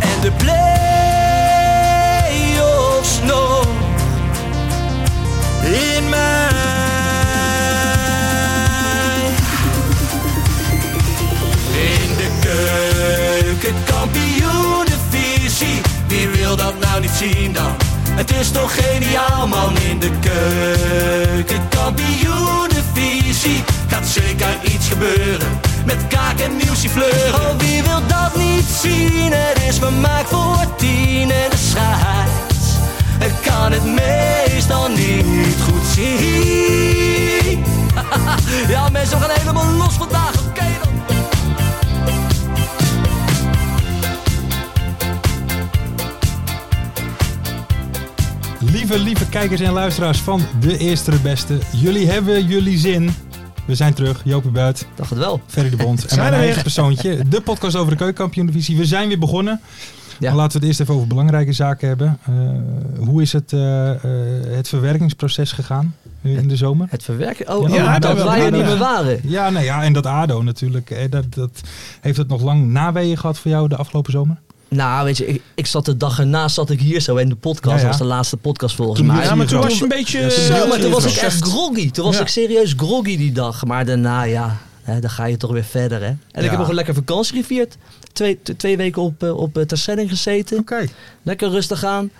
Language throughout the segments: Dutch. En de play-offs nog. In mij. In de keuken, kampioenenvisie. Wie wil dat nou niet zien dan? Het is toch geniaal man in de keuken, kampioenenvisie. Gaat zeker iets gebeuren met kaak en nieuwsie fleuren. Oh, wie wil dat niet zien? Het is vermaakt voor tien en de scheids. Ik kan het meestal niet goed zien. ja mensen, we gaan helemaal los vandaag, oké dan. Lieve, lieve kijkers en luisteraars van De Eerste de Beste. Jullie hebben jullie zin. We zijn terug. Joopie Buit, Dacht het wel. Ferry de Bond en Zijn mijn we weer. eigen persoontje. De podcast over de keukenkampioen-divisie. We zijn weer begonnen. Ja. Maar laten we het eerst even over belangrijke zaken hebben. Eh, hoe is het, eh, eh, het verwerkingsproces gegaan eh, in de zomer? Het verwerken. Ja, Oh, ja, ja, dat dat wel. wij Ja, er niet ja. meer waren. Ja, nou ja, en dat ADO natuurlijk. eh, dat, dat, heeft het nog lang naweeën gehad voor jou de afgelopen zomer? Nou, weet je, ik, ik zat de dag erna zat ik hier zo in de podcast. Ja, ja. Dat was de laatste podcast volgens Toen mij. hier- Ja, maar toen Toen- was je een beetje... Ja, eh, toen- Zo, maar toen was ik Ja. echt groggy. Toen was Ja. ik serieus groggy die dag. Maar daarna, ja, hè, dan ga je toch weer verder, hè. En Ja. ik heb nog een lekker vakantie gevierd. Twee, t- twee weken op, eh, op eh, Terschelling gezeten. Lekker rustig aan.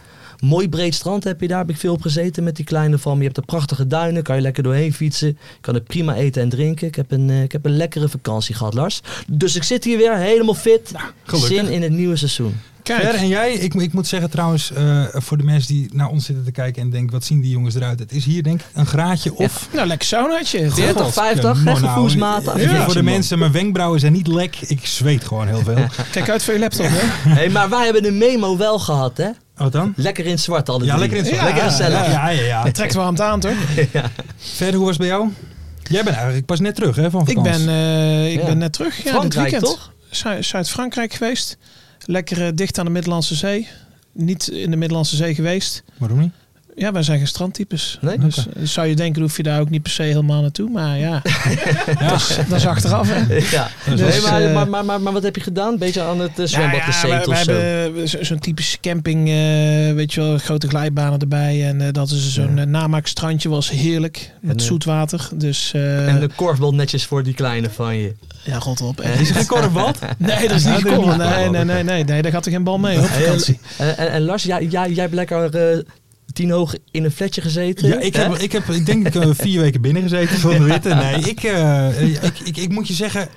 Mooi breed strand heb je daar. Heb ik veel op gezeten met die kleine van me. Je hebt er prachtige duinen. Kan je lekker doorheen fietsen. Je kan er prima eten en drinken. Ik heb een, eh, ik heb een lekkere vakantie gehad, Lars. Dus ik zit hier weer helemaal fit. Nou, gelukkig. Zin in het nieuwe seizoen. Ver, Kijk, en jij, ik, ik moet zeggen trouwens, eh, voor de mensen die naar ons zitten te kijken en denken, wat zien die jongens eruit? Het is hier denk ik een graadje of... eh, nou lekker saunaatje. Ja. Dit. 40, 50, ja, hè, gevoelsmaat. nou, even Ja. Voor de mensen, mijn wenkbrauwen zijn niet lek. Ik zweet gewoon heel veel. Kijk uit voor je laptop, hè. hey, maar wij hebben de memo wel gehad, hè? Wat dan? Lekker in het zwart alle Ja, drie. lekker in het Ja, zwart. Lekker gezellig. Ja, ja, ja. Het trekt warm aan, toch? Verder, hoe was het bij jou? Jij bent eigenlijk pas net terug hè, van Ik vakantie. ben, eh, ik Ja. ben net terug. Ja, dit Frankrijk, weekend. toch? Zu- Zuid-Frankrijk geweest. Lekker eh, dicht aan de Middellandse Zee. Niet in de Middellandse Zee geweest. Waarom niet? Ja, wij zijn geen strandtypes. Nee? Dus eh, zou je denken, hoef je daar ook niet per se helemaal naartoe. Maar ja, Ja, dat is achteraf. Hè. Ja. Dus, nee, maar, eh, maar, maar, maar, maar wat heb je gedaan? Beetje aan het eh, zwembad Nou ja, gezeten we, of we zo? hebben zo- zo'n typische camping, eh, weet je wel, grote glijbanen erbij. En eh, dat is zo'n eh, namaakstrandje, was heerlijk, met En, eh, zoet water. Dus eh, En de korfbal netjes voor die kleine van je. ja, rot op. is er geen korfbal? Nee, dat is niet dat is cool. niet Nee, cool. nee, nee, nee, nee, daar gaat er geen bal mee op vakantie. En, en, en Lars, jij, jij, jij hebt lekker eh, tien hoog in een flatje gezeten. Ja, ik hè? heb, ik heb ik denk ik eh, vier weken binnen gezeten voor de witte. Nee, ik, eh, ik, ik, ik moet je zeggen,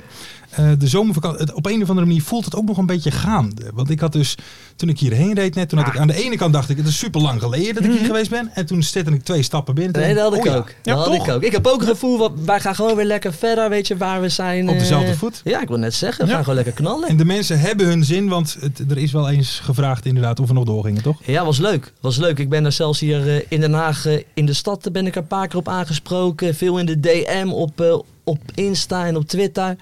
eh, de zomervakantie, het- op een of andere manier voelt het ook nog een beetje gaande. Want ik had dus, toen ik hierheen reed net, toen had ik aan de ene kant dacht ik, het is super lang geleden dat ik hier geweest ben. En toen zette ik twee stappen binnen. Toen Nee, dat had ik dacht oh ja, ook. dat had ik ook. Ik heb ook het gevoel, wat, wij gaan gewoon weer lekker verder, weet je, waar we zijn. Op dezelfde eh, voet. Ja, ik wil net zeggen, we Ja. gaan gewoon lekker knallen. En de mensen hebben hun zin, want het, er is wel eens gevraagd inderdaad of we nog doorgingen, toch? Ja, was leuk. Was leuk. Ik ben er zelfs hier eh, in Den Haag, eh, in de stad, daar ben ik er een paar keer op aangesproken. Veel in de DM, op, eh, op Insta en op Twitter.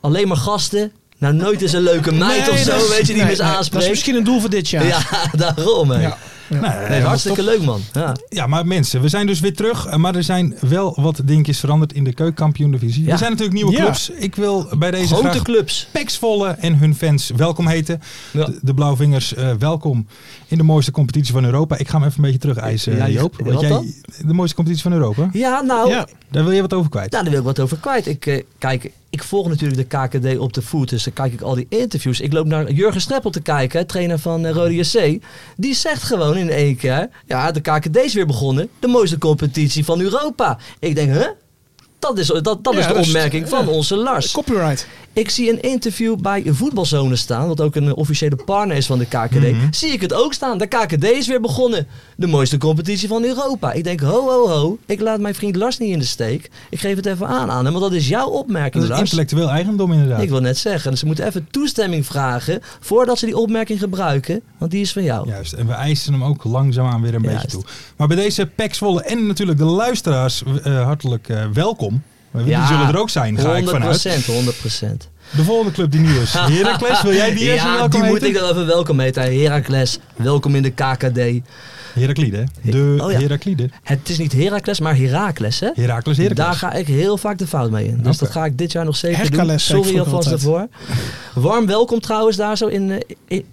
Alleen maar gasten. Nou, nooit is een leuke meid Nee, of zo, dat is- weet je, die nee, me eens nee, Dat is aanspreekt. misschien een doel voor dit jaar. Ja, daarom. hè. Ja. Nou, Nee, eh, hartstikke top. leuk man. Ja. Ja, maar mensen, we zijn dus weer terug. eh, Maar er zijn wel wat dingetjes veranderd in de keukenkampioen-divisie. Ja. Er zijn natuurlijk nieuwe Ja. clubs. Ik wil bij deze Grote graag clubs. Paxvolle en hun fans welkom heten. Ja. De, de Blauwvingers, eh, welkom in de mooiste competitie van Europa. Ik ga hem even een beetje terug eisen, Ja, je- Joop. wat Want jij, dan? de mooiste competitie van Europa. Ja, nou, Ja. Daar wil je wat over kwijt. Nou, daar wil ik wat over kwijt. Ik, eh, kijk, ik volg natuurlijk de KKD op de voet, dus dan kijk ik al die interviews. Ik loop naar Jurgen Streppel te kijken, hè, trainer van eh, Rode JC. Die zegt gewoon in één keer, ja, de KKD is weer begonnen. De mooiste competitie van Europa. Ik denk, huh? Dat is, dat, dat Ja, is de dat is- opmerking van ja. onze Lars. Copyright. Ik zie een interview bij Voetbalzone staan, wat ook een eh, officiële partner is van de KKD. Mhm. Zie ik het ook staan. De KKD is weer begonnen. De mooiste competitie van Europa. Ik denk, ho, ho, ho. Ik laat mijn vriend Lars niet in de steek. Ik geef het even aan aan hem, want dat is jouw opmerking, Dat is Lars. intellectueel eigendom inderdaad. Ik wil net zeggen, dus ze moeten even toestemming vragen voordat ze die opmerking gebruiken, want die is van jou. Juist, en we eisen hem ook langzaamaan weer een Juist. beetje toe. Maar bij deze Pax Zwolle en natuurlijk de luisteraars eh, hartelijk eh, welkom. Die Ja, zullen er ook zijn, ga ik vanuit. 100%, 100%. De volgende club die nieuw is. Heracles, wil jij die eerst ja, welkom die moet heten? ik dan even welkom heten. Heracles, welkom in de KKD. Heraklide, hè? de Oh ja. Heraklide. Het is niet Heracles, maar Herakles, hè? Heracles, Heracles. Daar ga ik heel vaak de fout mee in. Dus Oké. dat ga ik dit jaar nog zeker doen. Hercules, zei ik Sorry vroeger alvast daarvoor. Warm welkom trouwens daar zo in, eh, in,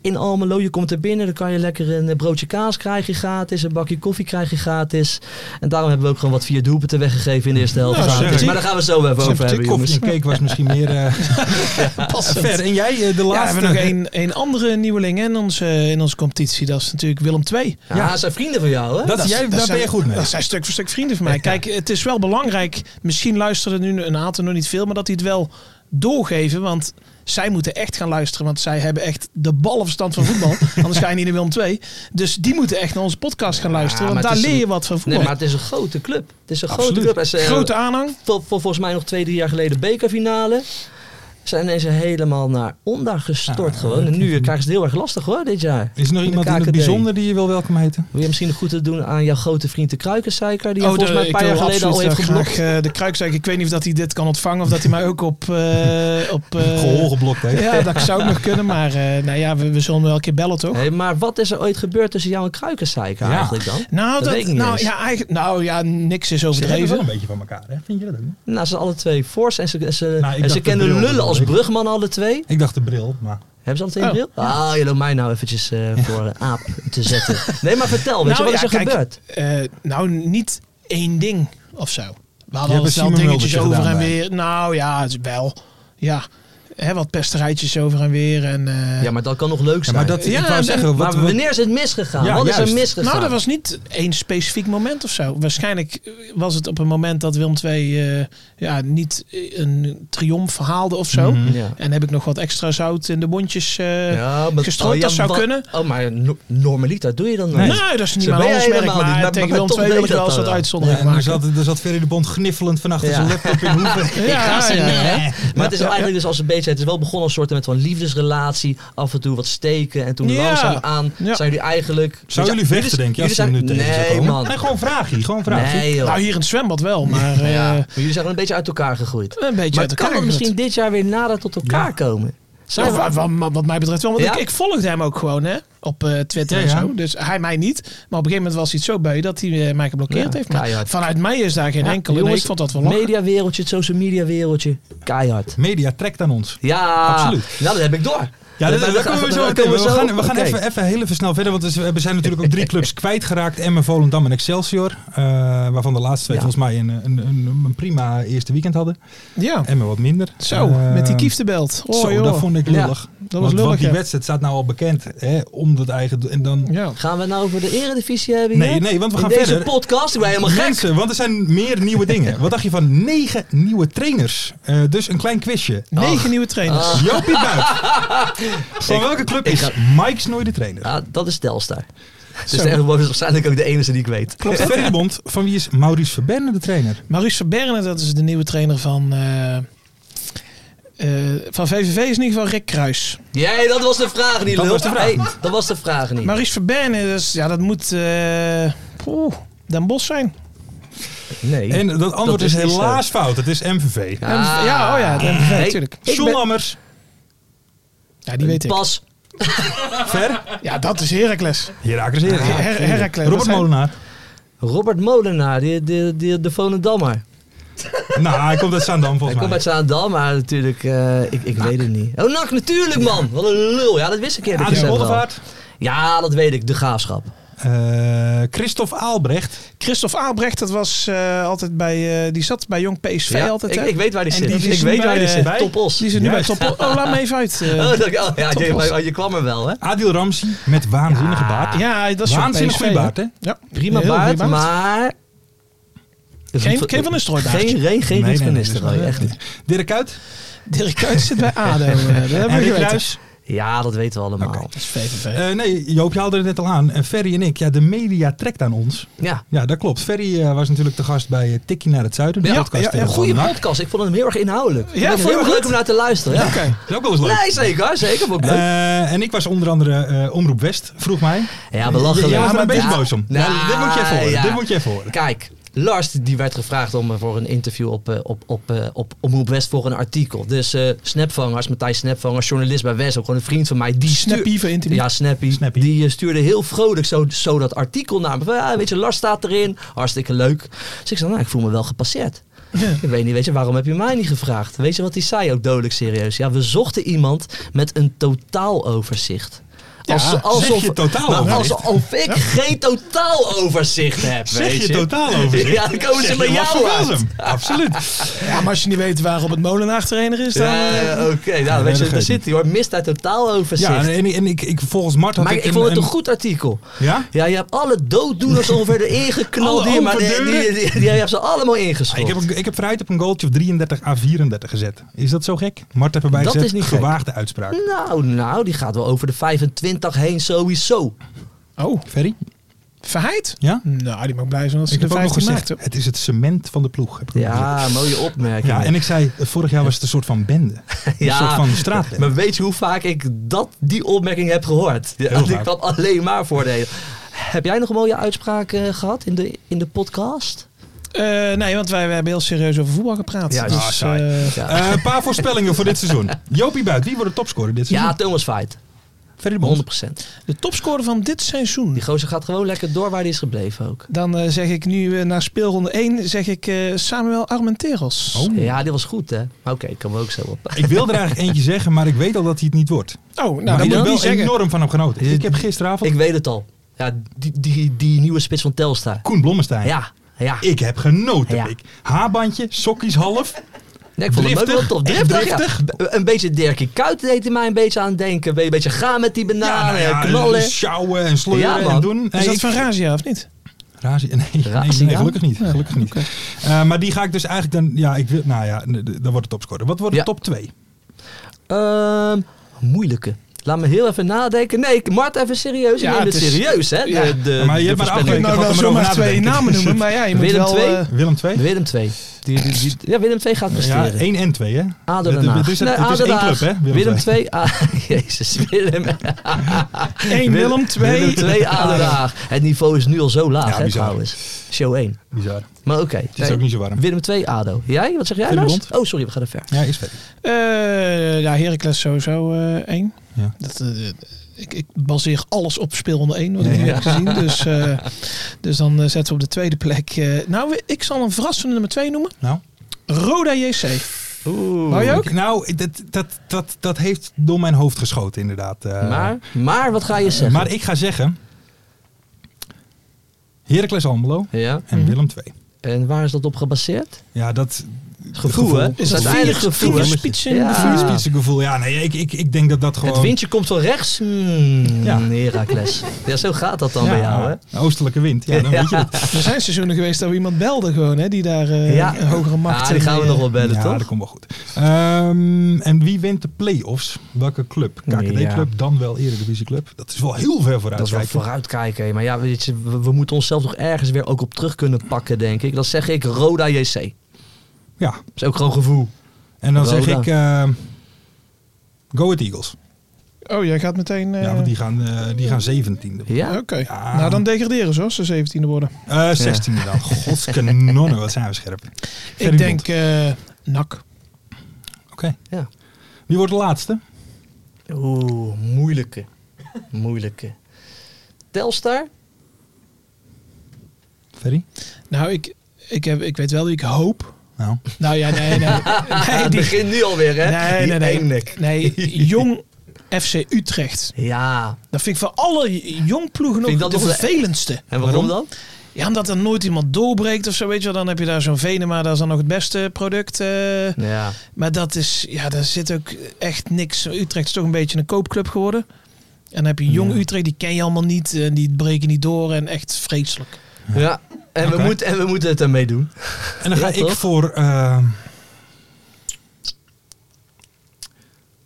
in Almelo. Je komt er binnen, dan kan je lekker een eh, broodje kaas krijgen gratis. Een bakje koffie krijgen gratis. En daarom hebben we ook gewoon wat vier doelpunten weggegeven in de eerste helft. Nou, gratis. sympathiek. maar daar gaan we het zo even over hebben, Koffie jongens. en cake was misschien meer eh, Passend. ver. En jij, eh, de Ja, we laatste. hebben nog één, één andere nieuweling hè, in onze, in onze competitie. Dat is natuurlijk Willem II. Ja, ze zijn vrienden van jou, hè? Dat, jij, daar ben je goed mee. Dat zijn stuk voor stuk vrienden van mij. Kijk, het is wel belangrijk. Misschien luisteren nu een aantal nog niet veel, maar dat die het wel doorgeven. Want zij moeten echt gaan luisteren. Want zij hebben echt de ballenverstand van voetbal. anders ga je niet in Willem 2. Dus die moeten echt naar onze podcast gaan luisteren. Ja, want maar daar het is leer je een- wat van Nee, eh, voetbal. maar het is een grote club. Het is een Absoluut. grote club. En ze- Grote aanhang. Oh, vol, vol- volgens mij nog twee, drie jaar geleden bekerfinale. Zijn deze helemaal naar onder gestort gewoon. En nu krijgen ze het heel erg lastig hoor, dit jaar. Ah, Is er nog In de iemand in het KKD. bijzonder die je wil welkom heten? Wil je misschien goed te doen aan jouw grote vriend de Kruikenzeiker? Oh, Die je volgens de- mij een paar ik jaar wil geleden al absoluut heeft wel geblokt. graag, eh, de kruikzijk. Ik weet niet of dat hij dit kan ontvangen. Of dat hij mij ook op... eh op eh, Gehoor geblokt, hè? ja, dat zou ook nog kunnen. Maar eh, nou ja, we, we zullen hem wel een keer bellen toch? Hey, maar wat is er ooit gebeurd tussen jou en Kruikenzeiker eh, Ja. eigenlijk dan? Nou, Dat dat, weet ik niet nou, eens. ja, eigenlijk, nou ja, niks is Ze hebben overdreven. wel een beetje van elkaar, hè? Vind je dat ook? niet? Nou, ze zijn alle twee fors en ze, en ze, Nou, ik en dacht ze de kennen bril, lullen dat als weet ik. brugman alle twee. Ik dacht de bril, maar... Hebben ze alle twee Oh, een bril? Ah, je loopt mij nou eventjes eh, voor een aap te zetten. Nee, maar vertel, Nou weet je, wat ja, is er gebeurd? eh, nou, niet één ding of zo. We hadden hebt al een snel Simon dingetjes Muldertje over en gedaan bij. weer. Nou ja, het is wel. Ja, hè, wat pesterijtjes over en weer. En, eh, Ja, maar dat kan nog leuk Ja, zijn. maar dat, Ja, ik wou en- zeggen, wat, maar wat- wanneer is het misgegaan? Ja, Wat is juist. er misgegaan? nou, dat was niet één specifiek moment of zo. Waarschijnlijk eh, was het op een moment dat Willem II eh, ja, niet eh, een triomf haalde of zo. Mhm. Ja. En heb ik nog wat extra zout in de mondjes eh, Ja, maar- gestrooid. oh, ja, dat zou wat- kunnen. Oh, maar no- normaliter doe je dan Nee, nooit. dat is niet Zo mijn ben jij handelsmerk. Maar, helemaal niet, maar- tegen maar Willem toch II deed wil ik dat wel eens dan wat wel. Ja, uitzondering en er, maken. zat, er zat Ferry de Bond gniffelend van achter Ja. zijn laptop in hoeven. Ik ga ze niet, hè? Maar het is Ja, ja. eigenlijk dus als een beetje... Het is wel begonnen als een soort met van liefdesrelatie. Af en toe wat steken. En toen Ja. langzaam aan Ja. zijn jullie eigenlijk... Zou Ja, jullie vechten, denk je, als je hem jullie nu tegen zou zijn- Nee, komen? man. Nee, gewoon vraagje, gewoon vraagje. Nee, joh. Nou, hier in het zwembad wel, maar eh, Ja, maar jullie zijn gewoon een beetje uit elkaar gegroeid. een beetje maar uit elkaar. kan het misschien gezet. dit jaar weer nader tot elkaar komen? Ja, Nou, wa- wa- ma- wat mij betreft wel. Want Ja? ik, ik volgde hem ook gewoon hè, op eh, Twitter Ja, en ja. zo. Dus hij mij niet. Maar op een gegeven moment was hij het zo beu dat hij eh, mij geblokkeerd Ja, heeft. Maar keihard. vanuit mij is daar geen Ja, enkele. jongens, nee, ik vond dat wel lachen. Mediawereldje, het social media wereldje. Keihard. Media trekt aan ons. Ja, Absoluut. Nou, dat heb ik door. Ja, Dat- dat, dat, dat- komen we zo dat- meteen. dat- We dat- gaan, dat- we gaan oké. even, even heel even snel verder. Want dus we zijn natuurlijk ook drie clubs kwijtgeraakt. Emmen, Volendam en Excelsior. eh, waarvan de laatste twee Ja. volgens mij een, een, een, een prima eerste weekend hadden. Ja, Emmen wat minder. zo. Eh, met die kieftebelt. Oh, zo, joh. dat vond ik lullig. was want, want lullig, die ja. wedstrijd staat nou al bekend. Hè, om dat eigen... En dan... ja. Gaan we het nou over de eredivisie hebben hier? Nee, nee, want we In gaan deze verder. podcast? Ik ben helemaal gek. Mensen, want er zijn meer nieuwe dingen. Wat dacht je van negen nieuwe trainers? Eh, dus een klein quizje. Negen nieuwe trainers. Jopie Buit. Van welke club ik is ga- Mike Snoei de trainer? Ja, dat is Telstar. Dus dat is waarschijnlijk ook de enige die ik weet. Klopt. Ferry de Bond, van wie is Maurice Verberne de trainer? Maurice Verberne, dat is de nieuwe trainer van, eh, eh, van VVV, is in ieder geval Rick Kruis. Jij, dat was de vraag niet, Dat lul. was de vraag Hey, niet. dat was de vraag niet. Maurice Verberne, dus, ja, dat moet eh poeh, Den Bos zijn. Nee. En dat antwoord is is, niet zo. helaas fout. Het is MVV. Ah. Ja, oh ja, Den Bos, Hey, natuurlijk. John Lammers. Ja, die weet ik. Pas Ver? Ja, dat is Heracles. Herakles Herakles. Her- Her- Heracles, dat Robert zijn- Molenaar. Robert Molenaar, die, die, die, de Volendammer. nou, hij komt uit Zaandam Hij volgens komt mij. uit Zaandam, maar natuurlijk, eh, ik, ik weet het niet. Oh, Nak, natuurlijk man! Wat een lul. Ja, dat wist ik eerlijk Adrie gezegd wel. Bollevaart. Ja, dat weet ik. De Graafschap. Eh, Christophe Aalbrecht. Christophe Aalbrecht, dat was eh, altijd bij, eh, die zat bij Jong PSV Ja, altijd. ik, hè? ik weet waar die En zit. die ik is nu weet waar bij, die eh, zit. Topos. die zit nu bij Juist. Top. Oh, laat me even uit. eh. Oh, dat, oh, ja, je, Topos. maar je kwam er wel, hè? Adil Ramsi met waanzinnige baard. ja, dat is Jong Waanzinnig PSV, goede baard, hè? Ja, Prima heel baard, goede baard. maar... Geen- geen Van Nistelrooy baardje. Geen, geen, geen nee, Nee, nee, Van nee, dat is Nistelrooy, wel- echt niet. Dirk Kuyt. Dirk Kuyt zit bij ADO. eh, dat hebben we Henrik geweten. Ruijs. Ja, dat weten we allemaal. Dat is VVV. Eh, nee, Joop, je haalde het net al aan. En Ferry en ik, ja, de media trekt aan ons. Ja. Ja, dat klopt. Ferry eh, was natuurlijk de gast bij eh, Tikkie naar het Zuiden. de Ja, podcast ja, ja, tegen Goeie Van NAC. podcast. Ik vond hem heel erg inhoudelijk. Ja, Ja, ik vond vond het je heel hem leuk om naar te luisteren. Ja. Oké. Dat is ook wel eens leuk. Nee, zeker. Zeker. Vond ik leuk. Eh, en ik was onder andere eh, Omroep West, vroeg mij. Ja, Ah, belachelijk. Jij was er een beetje Ja. boos om. Ja, dit moet je even horen. Nou, Ja. Dit moet je even horen. Kijk, Lars die werd gevraagd om eh, voor een interview op, eh, op, op, eh, op Omroep West voor een artikel. Dus eh, Snapvangers, Matthijs Snapvangers, journalist bij West, ook gewoon een vriend van mij. Die stuur- Snappy van interview. Ja, Snappy. Snappy. Die eh, stuurde heel vrolijk zo, zo dat artikel naar me. Van, ja, weet je, Lars staat erin. Hartstikke leuk. Dus ik zei, nou, ik voel me wel gepasseerd. Ik weet niet, weet je, waarom heb je mij niet gevraagd? Weet je wat hij zei ook dodelijk serieus? Ja, we zochten iemand met een totaaloverzicht. Ja, zeg je totaaloverzicht? Nou, alsof ik geen totaaloverzicht heb, Zeg weet je totaal over. Ja, dan komen ze bij jou uit. Absoluut. Ja, maar als je niet weet waar Robert Molenaar trainer is, dan... eh, Ja, oké. Nou, dat weet je, geeft daar zit hij hoor. Mist uit totaaloverzicht. Ja, en, en ik, ik, volgens Mart had maar ik ik een- vond het een een- goed artikel. Ja? Ja, je hebt alle dooddoeners ongeveer erin geknald. Alle hier, maar die, open die, deuren. die- die- die hebt ze allemaal ingeschoten. Ik heb, ik heb vooruit op een goaltje of 33 à 34 gezet. Is dat zo gek? Mart heeft erbij Dat gezet, is niet gek. gewaagde uitspraak. Nou, nou, die gaat wel over de 25 heen sowieso. Oh, Ferry? verheid? Ja? Nou, die mag blij zijn als hij Ik de heb ook nog 15 gezegd, maakt. hoor. het is het cement van de ploeg. heb ik ook gezegd. Ja, mooie opmerking. Ja, en ik zei, eh, vorig jaar was het een soort van bende. Een Ja. soort van straatbende. Maar weet je hoe vaak ik dat, die opmerking heb gehoord? Ja, Heel die vaak. kwam alleen maar voordelen. Heb jij nog een mooie uitspraak eh, gehad in de, in de podcast? Eh, nee, want wij, wij hebben heel serieus over voetbal gepraat. Ja, ah, dus, saai. eh, Ja, Eh, Een paar voorspellingen voor dit seizoen. Jopie Buit, wie wordt de topscorer dit seizoen? ja Thomas Fight. Ferry de Bond. 100%. de topscorer van dit seizoen. Die gozer gaat gewoon lekker door waar hij is gebleven ook. Dan eh, zeg ik nu eh, na speelronde 1 zeg ik, eh, Samuel Armenteros. Oh. Ja, dit was goed hè. Maar Oké, ik kan me ook zo op. Ik wil er eigenlijk eentje zeggen, maar ik weet al dat hij het niet wordt. Oh, maar nou, ik heb dat moet ik niet wel zeggen. enorm van hem genoten. Ik heb gisteravond Eh, Ik weet het al. Ja, die, die, die nieuwe spits van Telstar. Koen Blommestein. Ja, ja. Ik heb genoten. Ja. Nou, Ik. Haarbandje, sokkies half. Nee, ik vond hem ook Driftig, wel tof. echt Driftig, ja. B- Een beetje Dirkie Kuyt deed hij mij een beetje aan denken. Een beetje gaan met die nou bananen, ja, knallen. sjouwen en Ja, sleuren man. en doen. Nee, Is dat ik- van Razia of niet? Razi- nee, nee, Razia? nee, gelukkig niet. Gelukkig niet. Eh, maar die ga ik dus eigenlijk dan... Ja, ik wil, nou ja, n- d- dan wordt het topscorer. Wat wordt de Ja. top 2? Ehm, moeilijke. Laat me heel even nadenken. Nee, ik- Mart, even serieus. Ja, Ja, het het is- serieus, hè? ja. De, de, Maar je de hebt voorspelling. maar afgeleid. Ik had hem nou, nou erover zomaar nadenken. twee namen noemen, maar ja, je moet Willem wel... II? eh, Willem 2? Willem 2. Die, die, die- ja, Willem 2 gaat Ja, presteren. 1 en 2, hè? ADO Het- Den Haag. Het is, het Nee, is ADO Den één Haag. club, hè? Willem II. 2. Ah, jezus, Willem. 1 Willem 2. Willem 2 ADO Den Haag. Het niveau is nu al zo laag, Ja, hè, bizar. trouwens. Show 1. Bizar. Maar oké. Het is ook niet zo warm. Willem 2 ADO. Jij? Wat zeg jij, Willem Lars? Oh, sorry, we gaan er ver. Ja, is verder. Eh, ja, Heracles sowieso eh, één. Ja. Dat, eh, ik, ik baseer alles op speelronde 1, wat ik Ja, nu ja. heb gezien. Dus, eh, dus dan eh, zetten we op de tweede plek. eh, nou, ik zal een verrassende nummer 2 noemen. Nou? Roda JC. Oeh. Wou je ook? Nou, dat, dat, dat, dat heeft door mijn hoofd geschoten, inderdaad. Eh, Maar, maar wat ga je eh, zeggen? maar ik ga zeggen... Heracles Almelo ja. en Willem 2. En waar is dat op gebaseerd? Ja, dat... Gevoel, hè? Is dat Uiteindelijk vier- gevoel, vier hè? spitsen? Ja. Ah. gevoel. Ja, nee, ik, ik, ik denk dat dat gewoon... Het windje komt van rechts. Hmm, Ja. Herakles. Ja, zo gaat dat dan ja, bij jou, hè? een Oostelijke wind. Ja, dan weet je het. Er zijn seizoenen geweest dat we iemand belden gewoon, hè, die daar eh, een hogere macht... Ah, die en, gaan we eh, nog wel bellen, ja, toch? dat komt wel goed. Ehm, en wie wint de play-offs? Welke club? KKD-club, dan wel Eredivisie-club. Dat is wel heel ver Dat is wel vooruitkijken. vooruitkijken. Maar ja, weet je, we, we moeten onszelf nog ergens weer ook op terug kunnen pakken, denk ik. Dan zeg ik Roda JC. Dat Ja, is ook gewoon gevoel. en dan zeg Roda. ik... ehm, Go Ahead Eagles. Oh, jij gaat meteen... eh, Ja, want die gaan, eh die gaan 17e. Ja? Oké. Ja. Nou, dan degraderen ze als ze 17e worden. Eh 16e dan. Godskanonnen, wat zijn we scherp. Ferry ik denk eh NAC. Bond. Oké. Ja. Wie wordt de laatste? Oeh, moeilijk. moeilijke. Moeilijke. Telstar? Ferry? Nou, ik, ik, heb, ik weet wel die ik hoop. Nou. Nou ja, nee, nee. nee, het die- begint nu alweer, hè? nee, Die nee, nee. engnek. Nee, jong FC Utrecht. Ja. Dat vind ik van alle j- jong ploegen Vind nog ik dat de nog de- vervelendste. En waarom, dan? Ja, omdat er nooit iemand doorbreekt of zo, weet je wel. Dan heb je daar zo'n Venema, dat is dan nog het beste product. eh. Ja. Maar dat is, ja, daar zit ook echt niks. Utrecht is toch een beetje een koopclub geworden. En dan heb je jong Utrecht, die ken je allemaal niet. En die breken niet door en echt vreselijk. ja. En, Oké. we moeten, en we moeten het ermee doen. En dan ga Ja, ik toch? voor eh,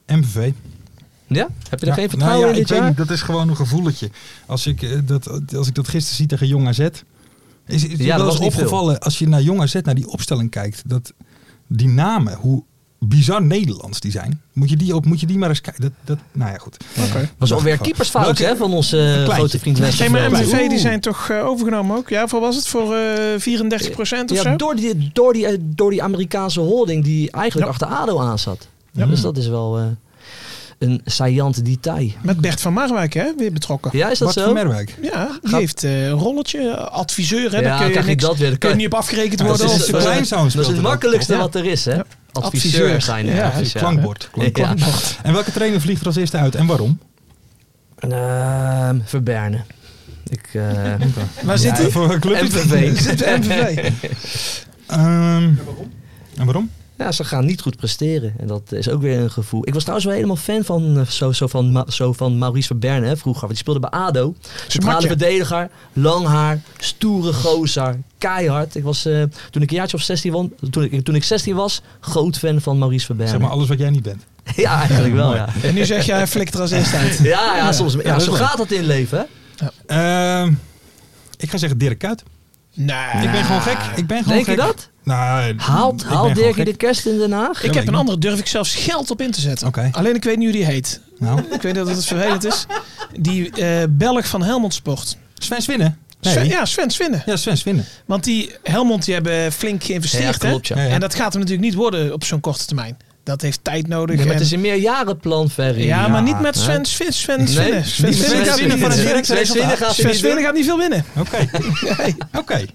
MVV. Ja? Heb je daar Ja, geen nou vertrouwen ja, in dit ik weet jaar? niet, dat is gewoon een gevoelletje. Als ik, eh, dat, als ik dat gisteren zie tegen Jong AZ. Is, is Ja, ja, dat wel was eens niet veel. opgevallen als je naar Jong AZ, naar die opstelling kijkt. Dat die namen, hoe bizar Nederlands die zijn. Moet je die, op, moet je die maar eens kijken. Dat, dat, nou ja, goed. was alweer Welke- keepersfout welke- hè, van onze eh, kleintje. grote vriend Geen maar Westerveld. MTV, die Oeh. zijn toch eh, overgenomen ook? Ja, voor was het? Voor eh 34 procent of Ja, zo? door die, door, die, eh, door die Amerikaanse holding die eigenlijk achter ADO aan zat. Dus dat is wel eh, een saillant detail. Met Bert van Marwijk, hè? Weer betrokken. Ja, Ja, is dat Bart zo? van Merwijk. die Gaat- heeft eh, een rolletje. eh, Adviseur, hè? Ja, daar kun je, krijg je niks, dat weer. Dan kun je kan- niet op afgerekend Ja, dat worden. is als- een klein zoon dat speelt is het het makkelijkste ook, toch? wat er is, hè? Ja. Adviseur zijn er. Ja, precies, ja. Klankbord. klankbord. Ja. En welke trainer vliegt er als eerste uit en waarom? Ehm, Verberne. Ik, eh, Waar zit hij? Voor welke club is het? MVV. Zit de MVV. Ehm, en waarom? ja, ze gaan niet goed presteren. En dat is ook weer een gevoel. Ik was trouwens wel helemaal fan van, eh, zo, zo van, Ma- zo van Maurice Verberne hè, vroeger. Want die speelde bij ADO. Centrale matje. verdediger, lang haar, stoere gozer, keihard. Ik was, eh, toen ik een jaartje of 16 won, toen ik, toen ik 16 was, groot fan van Maurice Verberne. Zeg maar alles wat jij niet bent. ja, eigenlijk wel, ja. En nu zeg jij, hij flikt er als eerste uit. Ja, ja, soms, ja, dat is zo leuk. gaat dat in het leven, hè? Ehm, ik ga zeggen Dirk Kuyt. Nee. Ik ben gewoon gek. Ik ben gewoon Ah. Denk gek. je dat? Nou, Haalt, ik haalt ben gewoon Dirkie gek. de kerst in Den Haag? Ik weet heb ik een niet. andere, durf ik zelfs geld op in te zetten. Oké. Alleen ik weet niet hoe die heet. Nou, Ik weet dat het vervelend is. Die eh, Belg van Helmond Sport. Sven Swinnen. Nee. Sven, ja. ja, Sven Swinnen. Sven Swinnen. Want die Helmond die hebben flink geïnvesteerd. Ja, klopt, hè? ja. Ja, ja. En dat gaat hem natuurlijk niet worden op zo'n korte termijn. Dat heeft tijd nodig. Nee, maar het en- is een meerjarenplan, Ferry. ja, maar niet met hè? Sven Sven Sven Nee, Swinnen. Sven niet met Swinnen Sven gaat Swinnen niet van het direct winnen. Sven Swinnen gaat ze Sven niet Swinnen winnen. gaat niet veel winnen. Oké. Oké.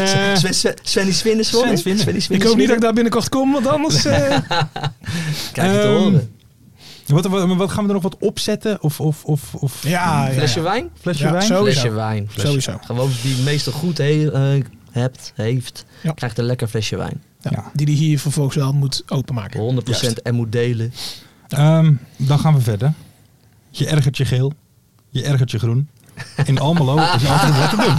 Eh, Sven- Sven- Svenny Swinnen, sorry. Sven Swinnen. Svenny Ik Swinnen, hoop niet dat Swinnen. ik daar binnenkort kom, want anders... eh, Krijg je te Ehm, horen. Wat, wat, wat gaan we er nog wat opzetten? Of, of, of, of ja, Ehm, ja, Flesje ja. wijn? flesje Ja, wijn? zo. Sowieso. Flesje wijn. Sowieso. Gewoon die meester goed he- eh, hebt, heeft, Ja. krijgt een lekker flesje wijn. Ja, Die die hier vervolgens wel moet 100% openmaken. en moet delen. Ehm, dan gaan we verder. Je ergert je geel. Je ergert je groen. In Almelo is altijd wat te doen.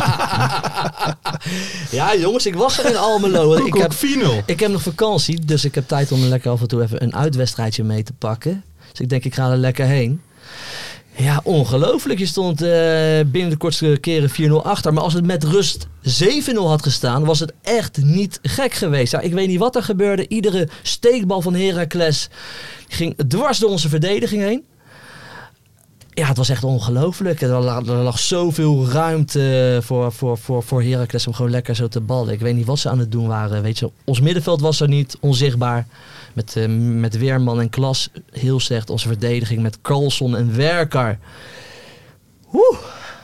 Ja, jongens, ik was er in Almelo. ik, heb, 4-0. ik heb nog vakantie, dus ik heb tijd om lekker af en toe even een uitwedstrijdje mee te pakken. Dus ik denk, ik ga er lekker heen. Ja, ongelooflijk. Je stond eh, binnen de kortste keren 4-0 achter. Maar als het met rust 7-0 had gestaan, was het echt niet gek geweest. Ja, ik weet niet wat er gebeurde. Iedere steekbal van Heracles ging dwars door onze verdediging heen. Ja, het was echt ongelooflijk. Er la- er lag zoveel ruimte voor, voor, voor, voor Heracles om gewoon lekker zo te ballen. Ik weet niet wat ze aan het doen waren. Weet je, ons middenveld was er niet, onzichtbaar. Met, eh, met Weerman en Klas heel slecht. Onze verdediging met Carlson en Werker. Oeh,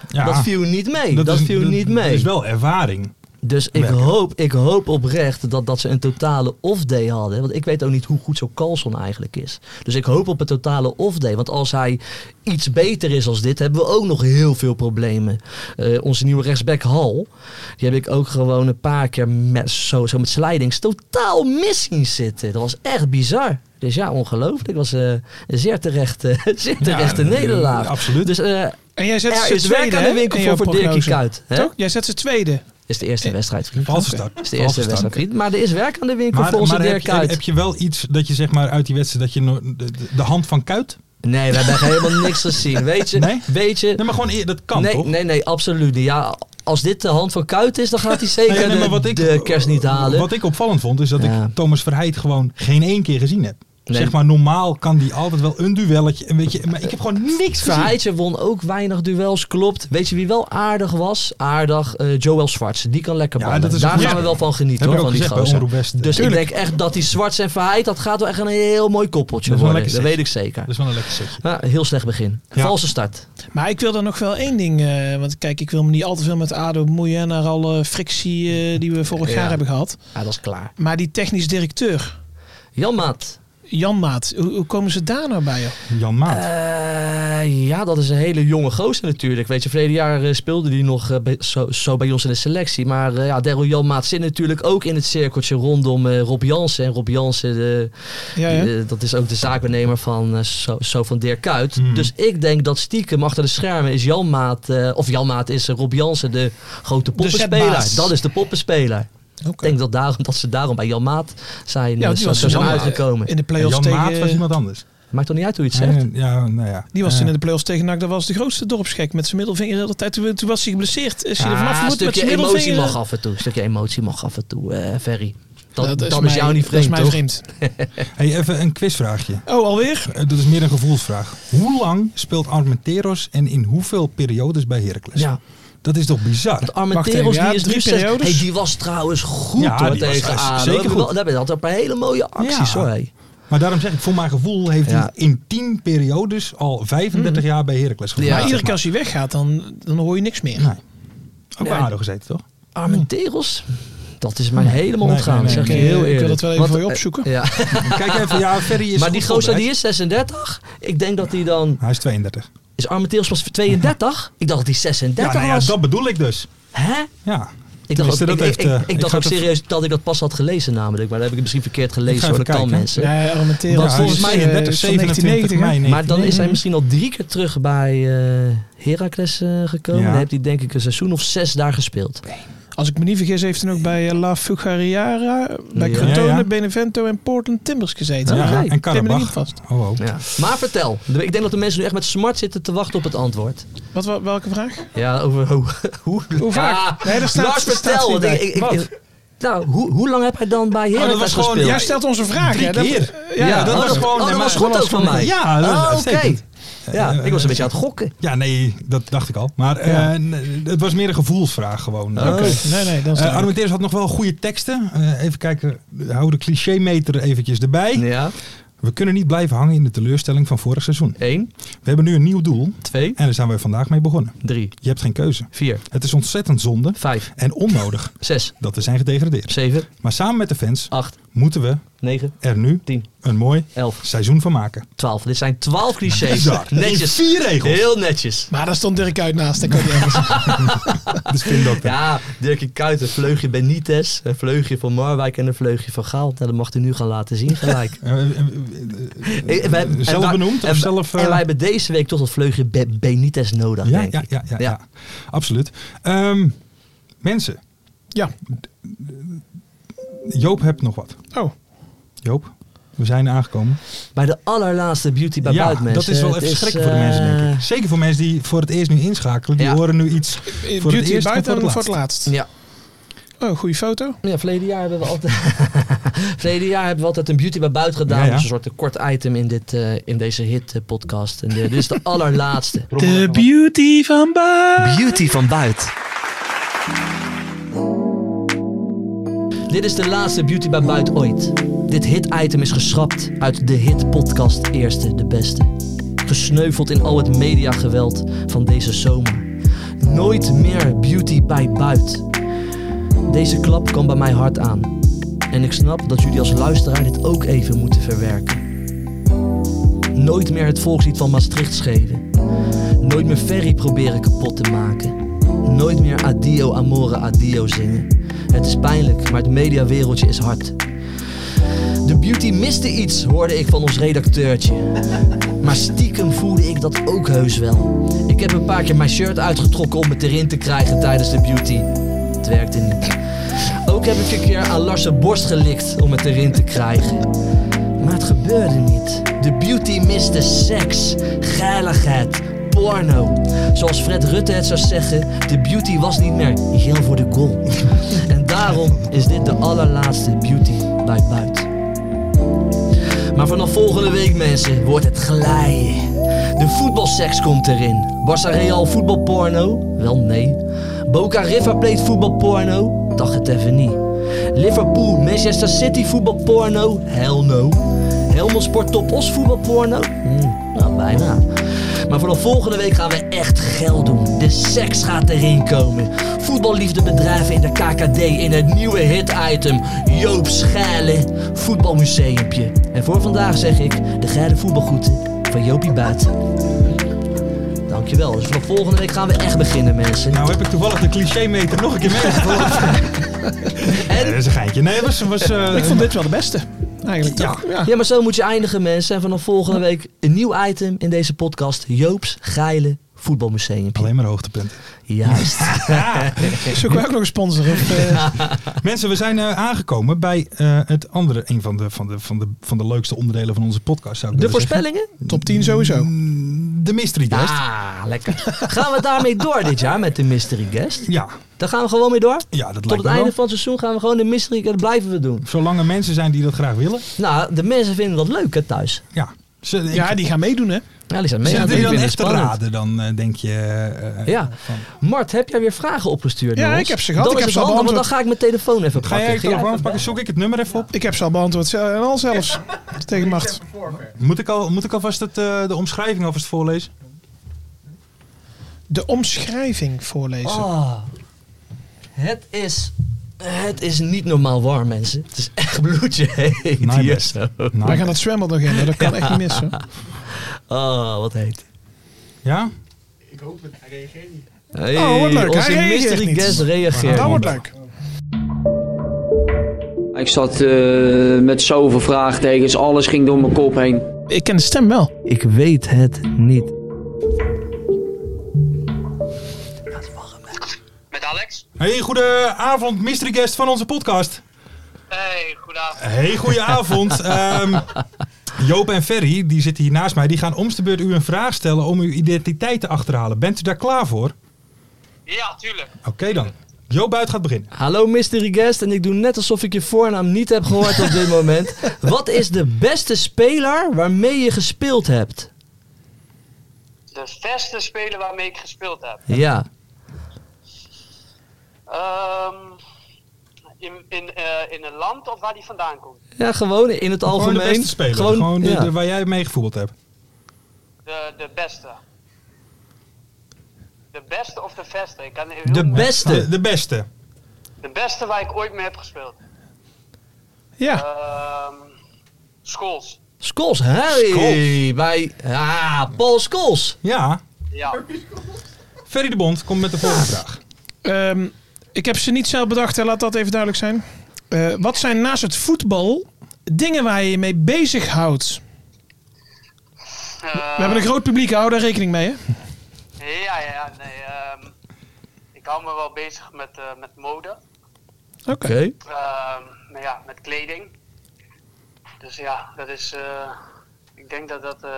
Ja, dat viel niet mee. Dat, is- viel niet mee. Dat is wel ervaring. Dus ik Werker. hoop, ik hoop oprecht dat, dat ze een totale off-day hadden. Want ik weet ook niet hoe goed zo'n Carlson eigenlijk is. Dus ik hoop op een totale off-day. Want als hij iets beter is als dit, hebben we ook nog heel veel problemen. Eh, onze nieuwe rechtsback Hal, die heb ik ook gewoon een paar keer met, zo, zo met slidings totaal mis zien zitten. Dat was echt bizar. Dus ja, ongelooflijk. Het was eh, een zeer terechte, zeer terechte eh, nederlaag. absoluut. Dus eh, En jij zet er ze is werk tweede, aan de hè, winkel in voor, jouw voor Dirkie prognose. Kuyt. hè? Toch? Jij zet ze tweede. Is de eerste wedstrijd, vriend. Eh, Valse start. Dat is de eerste Valse start. wedstrijd. Griet. Maar er is werk aan de winkel Maar, voor onze maar heb, Dirk je, heb Kuyt. je wel iets dat je zeg maar uit die wedstrijd dat je no- de, de- de hand van Kuit? Nee, we hebben helemaal niks gezien. Weet je? Nee? Weet je? Nee, maar gewoon eer- dat kan nee, toch? nee, nee, absoluut niet. Ja, als dit de hand van Kuyt is, dan gaat hij zeker Nee, nee, maar de, de kerst niet halen. Wat ik opvallend vond is dat Ja. ik Thomas Verheid gewoon geen één keer gezien heb. Nee. Zeg maar, normaal kan die altijd wel een duelletje. Een beetje, maar ik heb gewoon niks gezien. Verheidje won ook weinig duels, klopt. Weet je wie wel aardig was? Aardig, eh, Joel Zwarts. Die kan lekker Ja, ballen. dat is Daar een- gaan we wel van genieten Heb ik hoor, ook van die gezegd bij gozer. Omroep West. Dus ik Tuurlijk. denk echt dat die Zwarts en Verheid, dat gaat wel echt een heel mooi koppeltje Dat is wel worden. lekker Dat zeg. weet ik zeker. Dat is wel een lekker setje. Ja, heel slecht begin. Ja. Valse start. Maar ik wil daar nog wel één ding. eh, want kijk, ik wil me niet al te veel met ADO bemoeien. Naar alle frictie eh, die we vorig Ja. jaar hebben gehad. Ja, Ah, dat is klaar. Maar die technisch directeur, Jan Maat. Jan Maat. Hoe, hoe komen ze daar nou bij? Joh? Jan Maat. Eh, ja, dat is een hele jonge gozer natuurlijk. Weet je, verleden jaar eh, speelde die nog eh, bij- zo, zo bij ons in de selectie. Maar eh, ja, Daryl Jan Maat zit natuurlijk ook in het cirkeltje rondom eh, Rob Jansen. En Rob Jansen, de, Ja, ja. die, eh, dat is ook de zaakbenemer van, eh, zo, zo van Dirk Kuyt. Hmm. Dus ik denk dat stiekem achter de schermen is Jan Maat... eh, of Jan Maat is eh, Rob Jansen de grote poppenspeler. zetbaas. dat is de poppenspeler. eh, Ik denk dat, daarom, dat ze daarom bij Jan Maat zijn, Ja, eh, want die zo, was zo zijn Jan Maat. uitgekomen. In de play-offs Jan Maat was tegen... iemand anders. Maakt toch niet uit hoe je het zegt? Ja, ja, nou ja. Die was Eh, toen in de play-offs tegen NAC. Dat was de grootste dorpsgek. Met zijn middelvinger de hele tijd. Toen, toen was hij geblesseerd. Is hij er vanaf Ah, een gemoet met stukje zijn emotie middelvinger. mag af en toe. Een stukje emotie mag af en toe, eh Ferry. Dat, dat, is, mij- jou niet vreemd, Dat is mij toch? vreemd. Eh, hey, even een quizvraagje. Oh, alweer? Eh, dat is meer een gevoelsvraag. Hoe lang speelt Armenteros en in hoeveel periodes bij Heracles? Ja, Dat is toch bizar? de Armenteros Wacht even, die ja, is drie nu zes- periodes. Hey, die was trouwens goed Ja, hoor, die was tegen echt ADO. zeker Hebben we goed. wel- Daar hebben we altijd een paar hele mooie acties Ja. hoor. hey. Maar daarom zeg ik, voor mijn gevoel heeft hij Ja. in 10 periodes al 35 Mhm. jaar bij Heracles Ja, Nou, gevoerd. maar iedere zeg keer als hij weggaat, dan, dan hoor je niks meer. Nee. Ook Nee. bij ADO gezeten, toch? Armenteros? Dat is mij helemaal nee, ontgaan, nee, zeg nee. je heel Ik, eh, eerlijk. ik wil dat wel even voor je opzoeken. eh, ja. Kijk even, ja, Ferry is maar die goed gozer die voorbereid. is 36. Ik denk dat hij dan... Hij is 32. Is Armenteros pas 32? Ik dacht dat hij 36 ja, nou ja, was. dat bedoel ik dus. Hè? Ja. Ik dacht, ook, Tenminste, dat ik, heeft, ik- eh, ik- ik ik dacht ga ook het- serieus dat ik dat pas had gelezen namelijk. Maar dat heb ik misschien verkeerd gelezen hoor. even Dat kan kijken. mensen. Ja, Armenteros. Want Ja, volgens hij is mij, eh, 32, 27 hè? mei. Maar dan is hij 1999. misschien al drie keer terug bij eh Heracles eh, gekomen. Ja. Dan heeft hij denk ik een seizoen of zes daar gespeeld. Als ik me niet vergis, heeft hij ook bij eh, La Fugariara, bij Ja. Crotone, Ja, ja. Benevento en Portland Timbers gezeten. Ja, Oké. en Ik heb me er niet Karabach. vast. Oh, oh. Ja. Maar vertel, ik denk dat de mensen nu echt met smart zitten te wachten op het antwoord. Wat, wa- welke vraag? Ja, over hoe... hoe, Hoe vaak? Nee, daar staat- Lars, staat vertel. niet want ik- bij. ik- ik- Wat? nou, hoe, hoe lang heb hij dan bij Heracles was gewoon- gespeeld? Jij stelt onze vraag. Drie hè? Dat- keer. Ja, Ja, dat oh, was dat- gewoon... oh, dat maar- was goed ook van mij. Ja, dat Ah, is oké. uitstekend. Ja, Eh, ik was een beetje aan het gokken. Ja, nee, dat dacht ik al. Maar eh, n- het was meer een gevoelsvraag gewoon. Oké. Oh, Nee, nee, dan Eh, staat ik. Armenteros had nog wel goede teksten. Eh, even kijken, hou de clichémeter eventjes erbij. Ja, We kunnen niet blijven hangen in de teleurstelling van vorig seizoen. één, We hebben nu een nieuw doel twee, en daar zijn we vandaag mee begonnen. drie, Je hebt geen keuze. vier, Het is ontzettend zonde vijf, en onnodig zes, dat we zijn gedegradeerd. zeven, Maar samen met de fans acht, moeten we negen, er nu tien, een mooi elf, seizoen van maken. 12. Dit zijn 12 clichés. Bizar. In Netjes. vier regels. Heel netjes. Maar daar stond Dirk uit naast. Dat kan niet anders. Dus vind dat Ja, Dirkie Kuyt, een vleugje Benitez, een vleugje van Marwijk en een vleugje van Gaal. Nou, dat mag hij nu gaan laten zien gelijk. Eh, eh, eh, Eh, wij- en zelf wij- benoemd en, of zelf... eh, en wij hebben deze week toch dat vleugje Be- Benitez nodig, ja, denk ja, ik. ja, ja, Ja. ja, absoluut. Ehm, mensen, Ja. Joop hebt nog wat. Oh. Joop, we zijn aangekomen. Bij de allerlaatste Beauty bij ja, Buitenmens. dat is wel Het eh, even schrikken voor de mensen, denk ik. Zeker voor mensen die voor het eerst nu inschakelen. Die Ja. horen nu iets. Voor het Beauty eerst en Eh, buiten voor en het voor het laatst. Ja. Oh, goede foto. Ja, verleden jaar hebben we altijd, verleden jaar hebben we altijd een beauty bij buiten gedaan. Ja, ja. Dus een soort kort item in, dit, eh, in deze hit eh, podcast. En eh, dit is de allerlaatste. De beauty van buiten. Beauty van buiten. Dit is de laatste Beauty bij Buiten ooit. Dit hit-item is geschrapt uit de hit-podcast Eerste de Beste. Gesneuveld in al het mediageweld van deze zomer. Nooit meer Beauty bij Buiten. Deze klap kwam bij mij hard aan. En ik snap dat jullie als luisteraar dit ook even moeten verwerken. Nooit meer het volkslied van Maastricht schelen. Nooit meer Ferry proberen kapot te maken. Nooit meer adio amore adio zingen. Het is pijnlijk, maar het mediawereldje is hard. De beauty miste iets, hoorde ik van ons redacteurtje. Maar stiekem voelde ik dat ook heus wel. Ik heb een paar keer mijn shirt uitgetrokken om het erin te krijgen tijdens de beauty. Het werkte niet. Ook heb ik een keer aan Lars' zijn borst gelikt om het erin te krijgen. Maar het gebeurde niet. De beauty miste seks, geiligheid, porno. Zoals Fred Rutte het zou zeggen, de beauty was niet meer geel voor de goal. en daarom is dit de allerlaatste beauty bij buiten. Maar vanaf volgende week, mensen, wordt het glijden. De voetbalseks komt erin. Barça Real voetbalporno? Wel nee. Boca River Plate voetbalporno? Dacht het even niet. Liverpool, Manchester City voetbalporno? Hell no. Helmond Sport Top Os voetbalporno? Hmm, nou, bijna. Maar vanaf volgende week gaan we echt geld doen. De seks gaat erin komen. Voetballiefdebedrijven in de KKD in het nieuwe hit-item Joop Schijlen voetbalmuseumpje. En voor vandaag zeg ik de geile voetbalgoeten van Joopie Buiten. Dankjewel. Dus vanaf volgende week gaan we echt beginnen, mensen. Nou heb ik toevallig de clichémeter nog een keer meegepakt. Nee, dat is een geintje. Nee, was... was eh, Ik vond dit wel de beste. Eigenlijk Ja. toch? Ja. Ja, maar zo moet je eindigen, mensen. En vanaf volgende week een nieuw item in deze podcast. Joops geile voetbalmuseumpje. Alleen maar hoogtepunten. Juist. Zoeken we ook nog een sponsor? Of, eh, Mensen, we zijn eh, aangekomen bij eh, het andere, een van de, van, de, van, de, van de leukste onderdelen van onze podcast. Zou ik De willen zeggen. voorspellingen? top 10 sowieso. Mm, De mystery guest. Ja. Ah, lekker. Gaan we daarmee door dit jaar met de mystery guest? Ja, Daar gaan we gewoon mee door. dat Tot lijkt het me einde wel. van het seizoen gaan we gewoon de mystery guest blijven we doen. Zolang er mensen zijn die dat graag willen. Nou, de mensen vinden dat leuk hè, thuis. Ja. Ze, ik- Ja, die gaan meedoen hè. Ja, die zijn mee aan Zitten het die dan vinden het echt te spannend. raden, dan eh, denk je... eh, Ja. van- Mart, heb jij weer vragen opgestuurd? Ja, naar ons? ik heb ze gehad. Dat Ik is heb het ze al handig, want dan ga ik mijn telefoon even Ga pakken. jij het telefoon even pakken? Zoek ik het nummer even op? Ik heb ze al beantwoord ze- en al zelfs. Tegen macht. Moet ik, al, moet ik alvast het, eh, de omschrijving alvast voorlezen? De omschrijving voorlezen. Ah. Het is... Het is niet normaal warm, mensen. Het is echt bloedje heet Nee, hier best. zo. Wij Nou, gaan dat zwembad nog in. Dat kan echt niet missen. Oh, wat heet. ja? Hey, Oh, wat leuk. Onze Hij reageert mystery niet. guest reageert. Dat niet. wordt leuk. Ik zat eh, met zoveel vraagtekens, alles ging door mijn kop heen. Ik ken de stem wel. Ik weet het niet. Met Alex. Hey, goede avond, mystery guest van onze podcast. Hey, goedenavond. Hey, goeie avond. Ehm, Joop en Ferry, die zitten hier naast mij, die gaan om de beurt u een vraag stellen om uw identiteit te achterhalen. Bent u daar klaar voor? Ja, tuurlijk. Oké dan. Joop Buit gaat beginnen. Hallo mystery guest en ik doe net alsof ik je voornaam niet heb gehoord op dit moment. Wat is de beste speler waarmee je gespeeld hebt? De beste speler waarmee ik gespeeld heb. Ja. Ehm, in, in, eh, in een land of waar die vandaan komt? Ja, gewoon in het algemeen. Gewoon de beste speler. Gewoon, de, ja. de- waar jij mee gevoetbald hebt. De, de beste. De beste of de beste? Ik kan heel De moeilijk- beste. Oh, De, de beste. De beste waar ik ooit mee heb gespeeld. Ja. Ehm Scholes. Scholes, hey, Scholes. bij ah, Paul Scholes. Ja. Ja. Ferry de Bond komt met de volgende vraag. Ehm, ik heb ze niet zelf bedacht. Hè. Laat dat even duidelijk zijn. Eh, wat zijn naast het voetbal dingen waar je je mee bezighoudt? We hebben een groot publiek. Hou daar rekening mee. Hè? Ja, ja, ja, nee. ehm, ik hou me wel bezig met, eh, met mode. Oké. Oké. Ehm, maar ja, met kleding. Dus ja, dat is. eh, ik denk dat dat eh,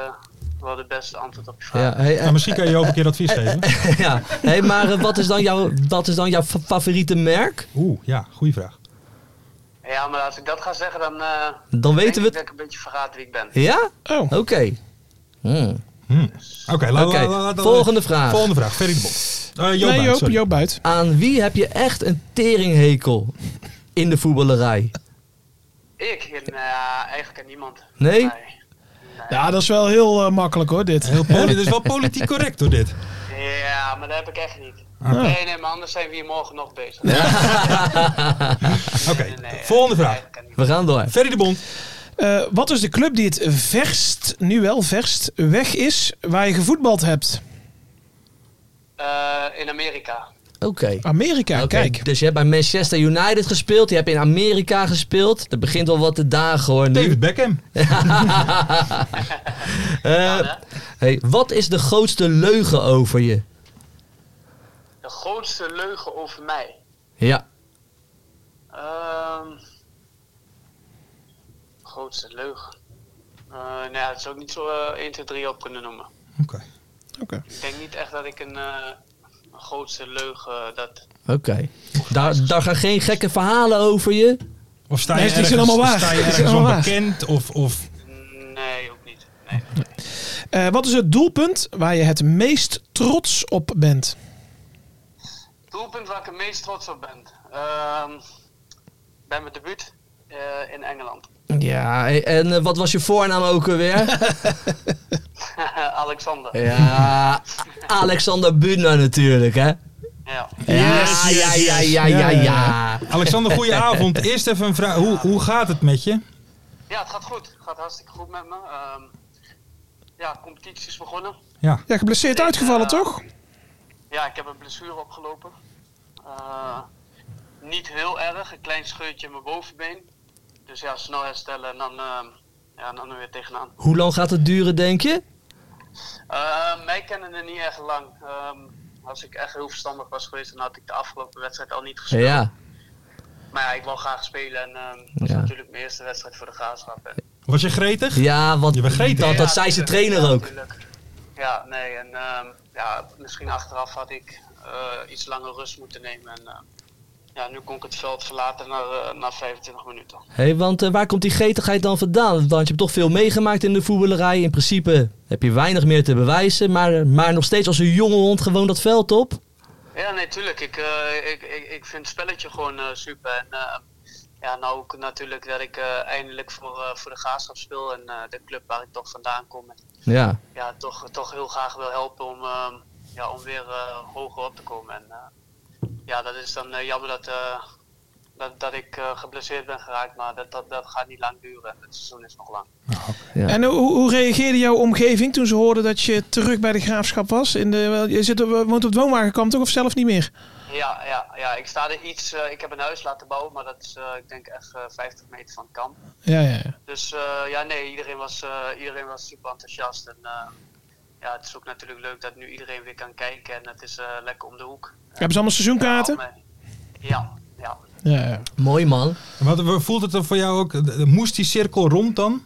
wel de beste antwoord op je vraag Ja, hey, eh, Nou, misschien kan je Joop een keer advies geven. ja. Hey, maar eh, wat, is dan jouw, wat is dan jouw fa- favoriete merk? Oeh, ja, goede vraag. is. Ja, maar als ik dat ga zeggen, dan. eh, Dan weten denk we ik dat ik een beetje verraad wie ik ben. Ja? Oh. Oké. Hmm. Oké, laat, Oké, laat- laat- laat- volgende vraag. Volgende vraag, Ferry de Bond. Eh Joop nee, Buit, Joop, sorry. Joop buiten. Aan wie heb je echt een teringhekel in de voetballerij? Ik? Ja, eigenlijk aan niemand. Nee? Ja, dat is wel heel eh, makkelijk hoor, dit. Heel poli- Oh, dit is wel politiek correct door dit. Ja, maar dat heb ik echt niet. Ah. Nee, nee, maar anders zijn we hier morgen nog bezig. Oké, volgende vraag. Eigenlijk aan niemand. We gaan door. Ferry de Bond. Eh, wat is de club die het verst, nu wel verst, weg is waar je gevoetbald hebt? Eh, in Amerika. Oké. Amerika, Oké, kijk. Dus je hebt bij Manchester United gespeeld, je hebt in Amerika gespeeld. Dat begint al wat te dagen hoor nu. David Beckham. Eh, hey, wat is de grootste leugen over je? De grootste leugen over mij. Ja. Ehm grootste leugen. Eh nou ja, dat is ook niet zo eh, 1, 2, 3 op kunnen noemen. Oké. Oké. Ik denk niet echt dat ik een, eh, een grootste leugen eh, dat. Oké. Daar, daar gaan geen gekke verhalen over je. Of sta je Nee, die ergens, zijn allemaal waar. Sta je Die zijn ergens allemaal waar. onbekend of, of Eh, wat is het doelpunt waar je het meest trots op bent? Doelpunt waar ik het meest trots op ben. Ehm, bij mijn debuut eh, in Engeland. Ja, en eh, wat was je voornaam ook alweer? Alexander. ja, Alexander Buna natuurlijk, hè? Ja. Ja, ja, ja, ja, ja, ja. Alexander, goeie avond. Eerst even een vraag. Hoe, hoe gaat het met je? ja, het gaat goed. Het gaat hartstikke goed met me. Ehm, ja, competitie is begonnen. Ja, geblesseerd uitgevallen, toch? Ja, ik heb een blessure opgelopen. Eh, niet heel erg, een klein scheutje in mijn bovenbeen. Dus ja, snel herstellen en dan, ehm, ja, dan er weer tegenaan. Hoe lang gaat het duren, denk je? Eh, mij kennen er niet erg lang. Ehm, als ik echt heel verstandig was geweest, dan had ik de afgelopen wedstrijd al niet gespeeld. Ja. Maar ja, ik wil graag spelen en ehm, dat is Ja. natuurlijk mijn eerste wedstrijd voor de graafschap. En, Was je gretig? Ja, want Je bent gretig. dat, dat Ja, zei zijn tuurlijk. trainer Ja, ook. tuurlijk. Ja, nee, en ehm, ja, misschien achteraf had ik eh, iets langer rust moeten nemen. En, eh, ja, nu kon ik het veld verlaten na, eh, na 25 minuten. Hey, want eh, waar komt die getigheid dan vandaan? Want je hebt toch veel meegemaakt in de voetballerij. In principe heb je weinig meer te bewijzen. Maar, maar nog steeds als een jonge hond gewoon dat veld op. Ja, nee, tuurlijk. Ik, eh, ik, ik, ik vind het spelletje gewoon eh, super. En eh, ja, nou ook natuurlijk dat ik eh, eindelijk voor, eh, voor de graafschap speel en eh, de club waar ik toch vandaan kom. En, Ja. ja, toch, toch heel graag wil helpen om, eh, ja, om weer eh, hoger op te komen. En eh, ja, dat is dan eh, jammer dat, eh, dat, dat ik eh, geblesseerd ben geraakt, maar dat, dat, dat gaat niet lang duren. Het seizoen is nog lang. Ja. En hoe, hoe reageerde jouw omgeving toen ze hoorden dat je terug bij de graafschap was? In de, je zit op, woont op het woonwagenkamp toch of zelf niet meer? Ja, ja, ja ik sta er iets. eh, ik heb een huis laten bouwen, maar dat is, eh, ik denk, echt eh, 50 meter van het kamp. Ja, ja, ja. Dus eh, ja, nee, iedereen was, eh, iedereen was super enthousiast. En eh, ja, het is ook natuurlijk leuk dat nu iedereen weer kan kijken en het is eh, lekker om de hoek. Hebben ze allemaal seizoenkaarten? Ja, eh, ja, ja. Ja, ja. Mooi man. Wat, voelt het er voor jou ook? Moest die cirkel rond dan?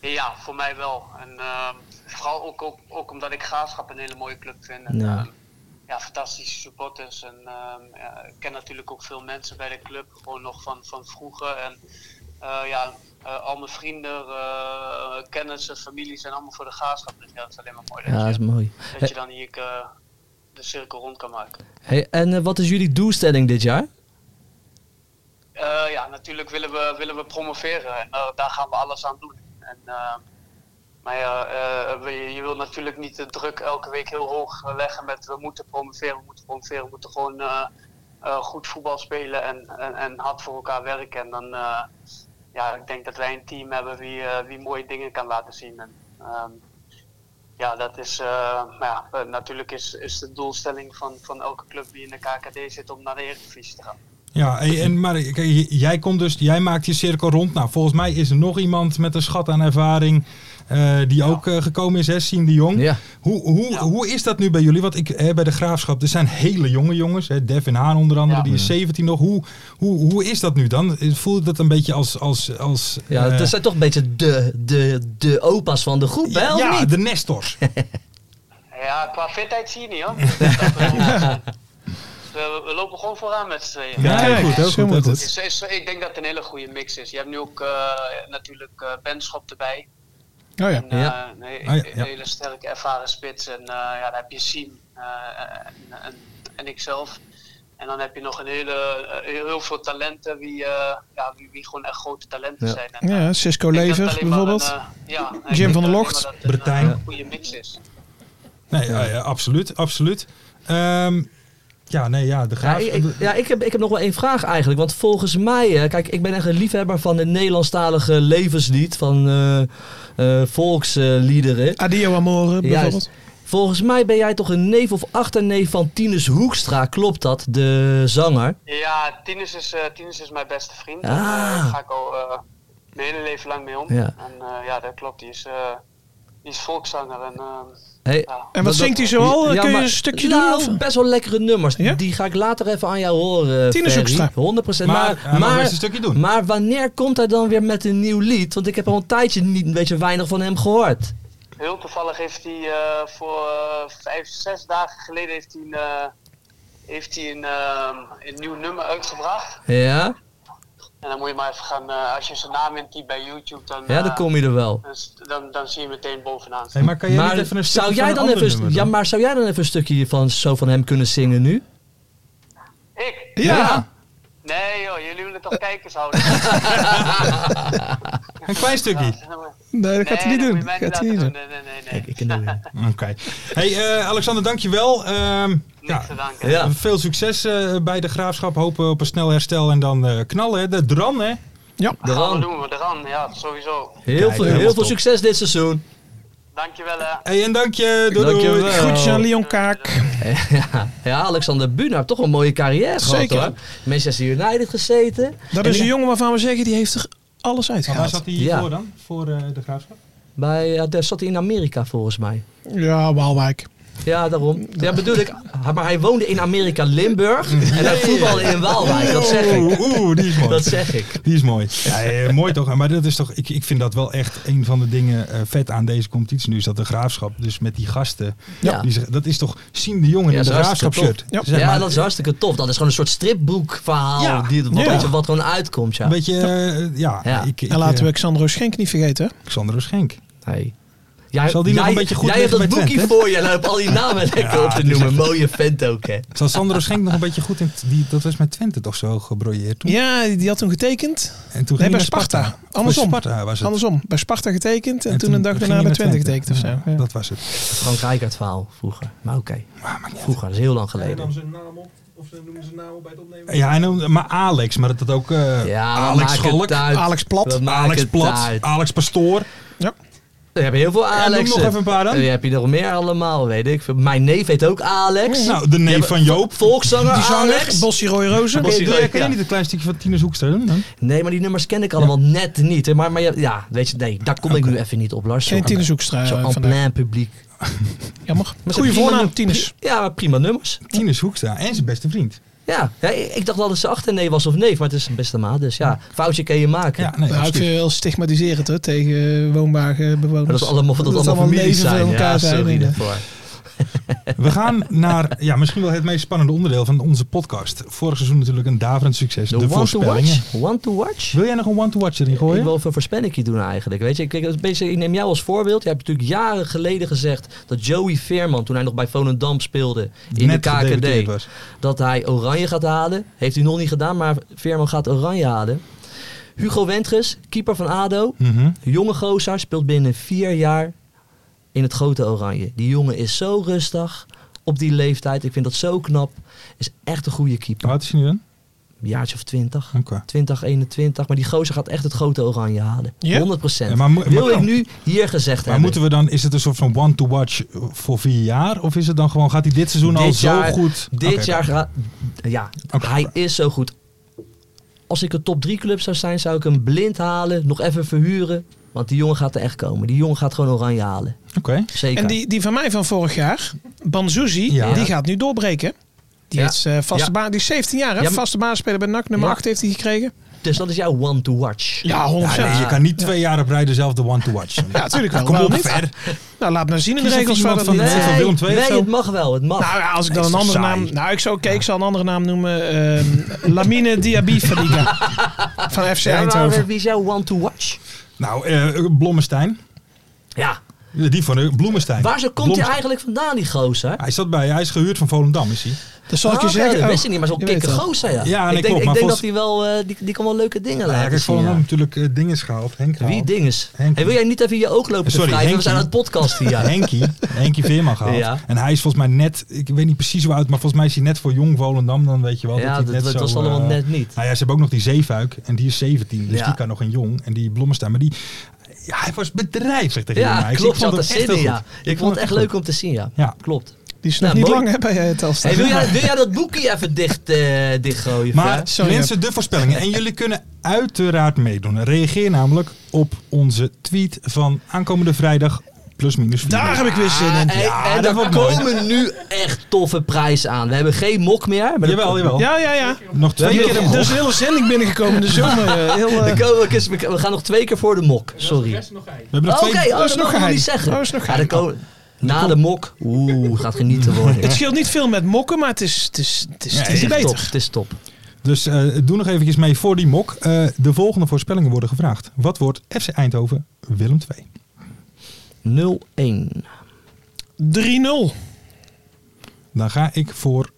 Ja, voor mij wel. En ehm, vooral ook, ook, ook omdat ik Graafschap een hele mooie club vind. En, Ja. ehm, ja, fantastische supporters. En ehm, ja, ik ken natuurlijk ook veel mensen bij de club, gewoon nog van, van vroeger. En eh, ja, eh, al mijn vrienden, eh, kennissen, familie zijn allemaal voor de Graafschap. Dus ja, dat is alleen maar mooi Ja, dat dat, is je, mooi. dat je dan hier eh, de cirkel rond kan maken. Hey, en eh, wat is jullie doelstelling dit jaar? Eh, ja, natuurlijk willen we, willen we promoveren en eh, daar gaan we alles aan doen. En, eh, maar ja, eh, we- je wilt natuurlijk niet de druk elke week heel hoog eh, leggen met we moeten promoveren, we moeten promoveren, we moeten gewoon eh, eh, goed voetbal spelen en, en, en hard voor elkaar werken. En dan, eh, ja, ik denk dat wij een team hebben wie, eh, wie mooie dingen kan laten zien. En, ehm, ja, dat is, eh, maar ja, eh, natuurlijk is, is de doelstelling van, van elke club die in de KKD zit om naar de Eredivisie te gaan. Ja, en- en, maar kijk, j- jij, komt dus, jij maakt je cirkel rond. Nou, volgens mij is er nog iemand met een schat aan ervaring eh, die ook eh, gekomen is, hè, Sien de Jong. Ja. Hoe, hoe, Ja. hoe is dat nu bij jullie? Want ik, eh, bij de Graafschap, er zijn hele jonge jongens. Hè, Devin Haan onder andere, Ja. die Mm. is 17 nog. Hoe, hoe, hoe is dat nu dan? Voelt dat een beetje als... als, als Ja, eh, dat zijn toch een beetje de, de, de opa's van de groep, hè? of ja, niet? de Nestors. Ja, qua fitheid zie je niet hoor. Dat wel. we, we lopen gewoon vooraan met z'n tweeën. Ja, Kijk, heel goed, heel zo goed, heel moet goed. Is- is- ik denk dat het een hele goede mix is. Je hebt nu ook eh, natuurlijk eh Benschop erbij. Oh ja. Oh En, eh, Ja. Een, he- Ah, ja, ja. een hele sterke ervaren spits. En eh, ja, daar heb je Sien eh, en, en, en ikzelf. En dan heb je nog een hele, eh, heel, heel veel talenten wie, eh, ja, wie, wie gewoon echt grote talenten Ja. zijn. En, eh, Ja, Cisco ik denk dat Lever alleen maar bijvoorbeeld. een, eh, ja, ik Jim van denk der alleen Locht, maar dat het een, eh, Bertijn. goede mix is. Nee, ja, ja, absoluut, absoluut. Ehm, ja, nee, ja, de Ja, Graafschap... ik, ik- ja ik, heb, ik heb nog wel één vraag eigenlijk. Want volgens mij, eh, kijk, ik ben echt een liefhebber van het Nederlandstalige levenslied. Van eh, eh, volksliederen. eh, Adio Amore bijvoorbeeld. Juist. Volgens mij ben jij toch een neef of achterneef van Tinus Hoekstra, klopt dat? De zanger. Ja, Tinus is, eh, Tinus is mijn beste vriend. Ah. En, eh, daar ga ik al eh, mijn hele leven lang mee om. Ja. En eh, ja, dat klopt. Die is, eh, die is volkszanger. En, eh, Hey, ja. En wat zingt hij zoal? Ja, Kun je maar- een stukje nou, doen? Of? best wel lekkere nummers. Ja? Die ga ik later even aan jou horen. Tinus Ferry. Hoekstra. 100%. Maar- eh, Maar, ja, maar, mag best een stukje doen. maar wanneer komt hij dan weer met een nieuw lied? Want ik heb al een tijdje niet, een beetje weinig van hem gehoord. Heel toevallig heeft hij eh, voor eh, vijf, zes dagen geleden heeft hij een, eh, heeft hij een, ehm, een nieuw nummer uitgebracht. Ja? En dan moet je maar even gaan, eh, als je zijn naam intypt bij YouTube, dan, Ja, dan eh, kom je er wel. dan, dan, dan zie je meteen bovenaan. Hey, maar kan jij Maar niet even een zou stukje jij van dan een ander even, een st- nummer ja, doen? maar zou jij dan even een stukje van, zo van hem kunnen zingen nu? Ik? Ja. Nee joh, jullie willen toch kijkers houden? Een klein stukje. Nee, dat Nee, gaat hij niet dat doen. moet je mij Dat niet gaat hij laten niet doen. doen. Nee, nee, nee. nee. Kijk, ik ken dat weer. Oké. Hey, eh, Alexander, dankjewel. Ehm Niks ja, te danken. Ja. Veel succes eh, bij de graafschap. Hopen op een snel herstel en dan eh, knallen. hè. De dran, hè? Dat gaan we Daarom. doen, we gaan. Ja, sowieso. Heel veel, helemaal heel veel top. succes dit seizoen. Dankjewel hè. Hey, en dank je. Doei, doei. Dankjewel. Groetjes aan Leon Kaak. Ja, ja, Alexander Buna heeft toch een mooie carrière Zeker. gehad hoor. Manchester United gezeten. Dat is een jongen waarvan we zeggen, die heeft er alles Maar Waar uitgehaald. zat hij Ja. voor dan? Voor eh, de graafschap? Bij, ja, daar zat hij in Amerika volgens mij. Ja, Waalwijk. Ja, daarom. Ja, bedoel ik. Maar hij woonde in Amerika, Limburg. Mm. En hij voetbalde in Waalwijk, dat zeg ik. Oeh, Oh, oeh, die is mooi. Dat zeg ik. Die is mooi. Ja, eh, mooi toch? Maar dat is toch, ik, ik vind dat wel echt een van de dingen eh, vet aan deze competitie nu. Is dat de graafschap, dus met die gasten. Ja. Die zeggen, dat is toch Siem de Jong in Ja, de dat is hartstikke graafschap shirt. Dus, tof. Ja. ja, dat is hartstikke tof. Dat is gewoon een soort stripboekverhaal. Ja. Die, wat, Ja. weet je, wat gewoon uitkomt, ja. Een beetje, eh, ja. Ja. Ik, ik, En laten eh, we Xandro Schenk niet vergeten. hè? Alexander Schenk. Hey. Jij, Zal die nog een beetje goed Jij hebt dat liggen bij boekje Twente, voor je en hebt al die namen lekker op te noemen. Mooie vent ook, hè. Zal Sandro Schenk nog een beetje goed in... t- Die, dat was met Twente toch zo gebrojeerd toen? Ja, die- die had toen getekend. En toen Nee, ging bij hij naar Sparta. Of Andersom. Sparta was het. Andersom, bij Sparta getekend en, En toen een dag ging daarna hij bij naar Twente getekend of zo. Ja, Ja. Dat was het. Frank Rijkaard verhaal vroeger. Maar oké. Vroeger, dat is heel lang geleden. zijn naam op, of ze noemen zijn naam op bij het opnemen. Ja, hij noemde, maar Alex, maar dat had ook eh, Ja, we Alex maken het Schalk, uit. Alex Plat, We maken Alex het Plat, uit. Alex Pastoor. Dan heb je heel veel noem Alex. nog even een paar dan. Dan heb je nog meer allemaal, weet ik. veel. Mijn neef heet ook Alex. Nou, de neef van Joop. Volkszanger Die zanger, Alex. Bossie Roy Rozen. Kun Bossie je, Roy, kun je ja. niet een klein stukje van Tinus Hoekstra doen dan? Nee, maar die nummers ken ik allemaal net niet. Hè. Maar, maar ja, ja, weet je, nee, daar kom ik nu even niet op, Lars. Geen Zo- Tinus Hoekstra Zo eh, en vandaag. plein publiek. Jammer. Maar Goeie ze- prima voornaam, num- Tinus. pri- Ja, maar prima nummers. Tinus Hoekstra en zijn beste vriend. Ja, ja, ik ik dacht wel dat ze achterneef was of neef, maar het is een beste maat. Dus ja, foutje kan je maken. Ja, nee, Dat houdt absoluut. heel stigmatiserend hoor, tegen woonwagenbewoners. Maar dat is allemaal, dat allemaal families neven zijn. van elkaar ja, zijn. sorry inderdaad. daarvoor. We gaan naar ja, misschien wel het meest spannende onderdeel van onze podcast. Vorig seizoen natuurlijk een daverend succes. The de one to voorspellingen. watch? One to watch? Wil jij nog een one-to-watch erin Ik gooien? wil even een voorspelling doen eigenlijk. Weet je, ik, ik, een beetje- ik neem jou als voorbeeld. Je hebt natuurlijk jaren geleden gezegd dat Joey Veerman, toen hij nog bij Volendam speelde in Net de gedebuteerd KKD, was. dat hij Oranje gaat halen. Heeft hij nog niet gedaan, maar Veerman gaat Oranje halen. Hugo Wendges, keeper van ADO, Mhm. jonge gozer, speelt binnen vier jaar in het grote Oranje. Die jongen is zo rustig op die leeftijd. Ik vind dat zo knap. Is echt een goede keeper. Hoe oud is hij nu dan? Een jaartje of twintig. Oké. 2021. Maar die gozer gaat echt het grote oranje halen. Ja? 100%. Ja, maar mo- Wil maar- ik nu hier gezegd Maar hebben. moeten we dan, is het een soort van one-to-watch voor vier jaar? Of is het dan gewoon, gaat hij dit seizoen al Dit jaar- nou zo goed? Dit Oké, jaar gaat... Ja, Oké. hij is zo goed. Als ik een top 3 club zou zijn, zou ik hem blind halen. Nog even verhuren. Want die jongen gaat er echt komen. Die jongen gaat gewoon oranje halen. Oké. Zeker. En die, die van mij van vorig jaar, Banzuzi, Ja. die gaat nu doorbreken. Die, Ja. is, eh, vaste Ja. baan, die is 17 jaar, hè? Ja, maar- vaste baanspeler bij NAC, nummer Ja. 8 heeft hij gekregen. Dus dat is jouw one to watch. Ja, 100%. Ja, nee, je kan niet twee jaar op rij dezelfde one-to-watch. Ja, natuurlijk wel. Kom op, Waarom niet? ver. Nou, laat maar zien in de Kies even regels waar iemand dat van- niet- van Willem II of nee zo? het mag wel. Het mag. Nou ja, als ik dan is een toch andere saai? naam... Nou, ik zou, oké, ik zal een andere naam noemen. ehm, Lamine Diaby Fadiga. van FC Ja, maar Eindhoven. wie is jouw one to watch? Nou, eh Blommestein. Ja. Die van eh, Bloemestein. Waar zo komt hij Blommestein. eigenlijk vandaan, die gozer? Hij zat bij, hij is gehuurd van Volendam, is hij. Dat zal ik je Ah, oké, zeggen. Dat Oh, wist ik niet, maar zo'n je weet kikke het. gozer, ja. Ja, nee, ik denk, klopt, ik maar denk dat volgens- hij wel, eh, die, die kan wel leuke dingen Ja, laten kijk, zien. Volendam Ja. natuurlijk eh, dingen gehaald. Henk gehaald. Wie dinges? En Henkie. wil jij niet even je ooglopen Sorry, wrijven? Henkie. We zijn aan het podcast hier. ja. Henkie, Henkie Veerman gehaald. Ja. En hij is volgens mij net, ik weet niet precies hoe oud, maar volgens mij is hij net voor jong Volendam. Dan weet je wel dat Ja, hij dat, net dat zo... was allemaal eh, net niet. Nou ja, ze hebben ook nog die Zeefuik en die is 17, dus Ja. die kan nog in jong. En die Blommestein, maar die... Ja, hij was bedrijfsrecht tegen Ja, mij. Ik klopt. vond Zat te het echt zitten, heel ja. goed. Ik vond het echt leuk goed. om te zien, ja. Ja. Klopt. Die is nog Nou, niet mooi. lang hè, bij eh, Telstar. Hey, wil, jij, wil jij dat boekje even dicht, eh dichtgooien? Maar Fer? Sorry, mensen, de voorspellingen. En jullie kunnen uiteraard meedoen. Reageer namelijk op onze tweet van aankomende vrijdag plus minus vier Daar weken. heb ik weer zin in. Ah, Hey, en dat er wordt mooi. komen nu echt toffe prijzen aan. We hebben geen mok meer. Maar er Jawel, jawel. Ja, ja, ja. Dus- Nog twee keer Er is een hele zending binnengekomen in de zomer. eh, Heel, eh, er komen- we- we gaan nog twee keer voor de mok. Sorry. We hebben nog Oké, twee... okay, oh, dat is dat mag nog ik nog geheim. niet zeggen. Dat is nog Ja, dan komen- na de mok, oeh, gaat genieten worden. Het scheelt niet veel met mokken, maar het is, het is, het is, het is Nee, niet top, beter. het is top. We Dus eh, doe nog eventjes mee voor die mok. Eh, de volgende voorspellingen worden gevraagd. Wat wordt FC Eindhoven Willem 2? 0-1. 3-0. Dan ga ik voor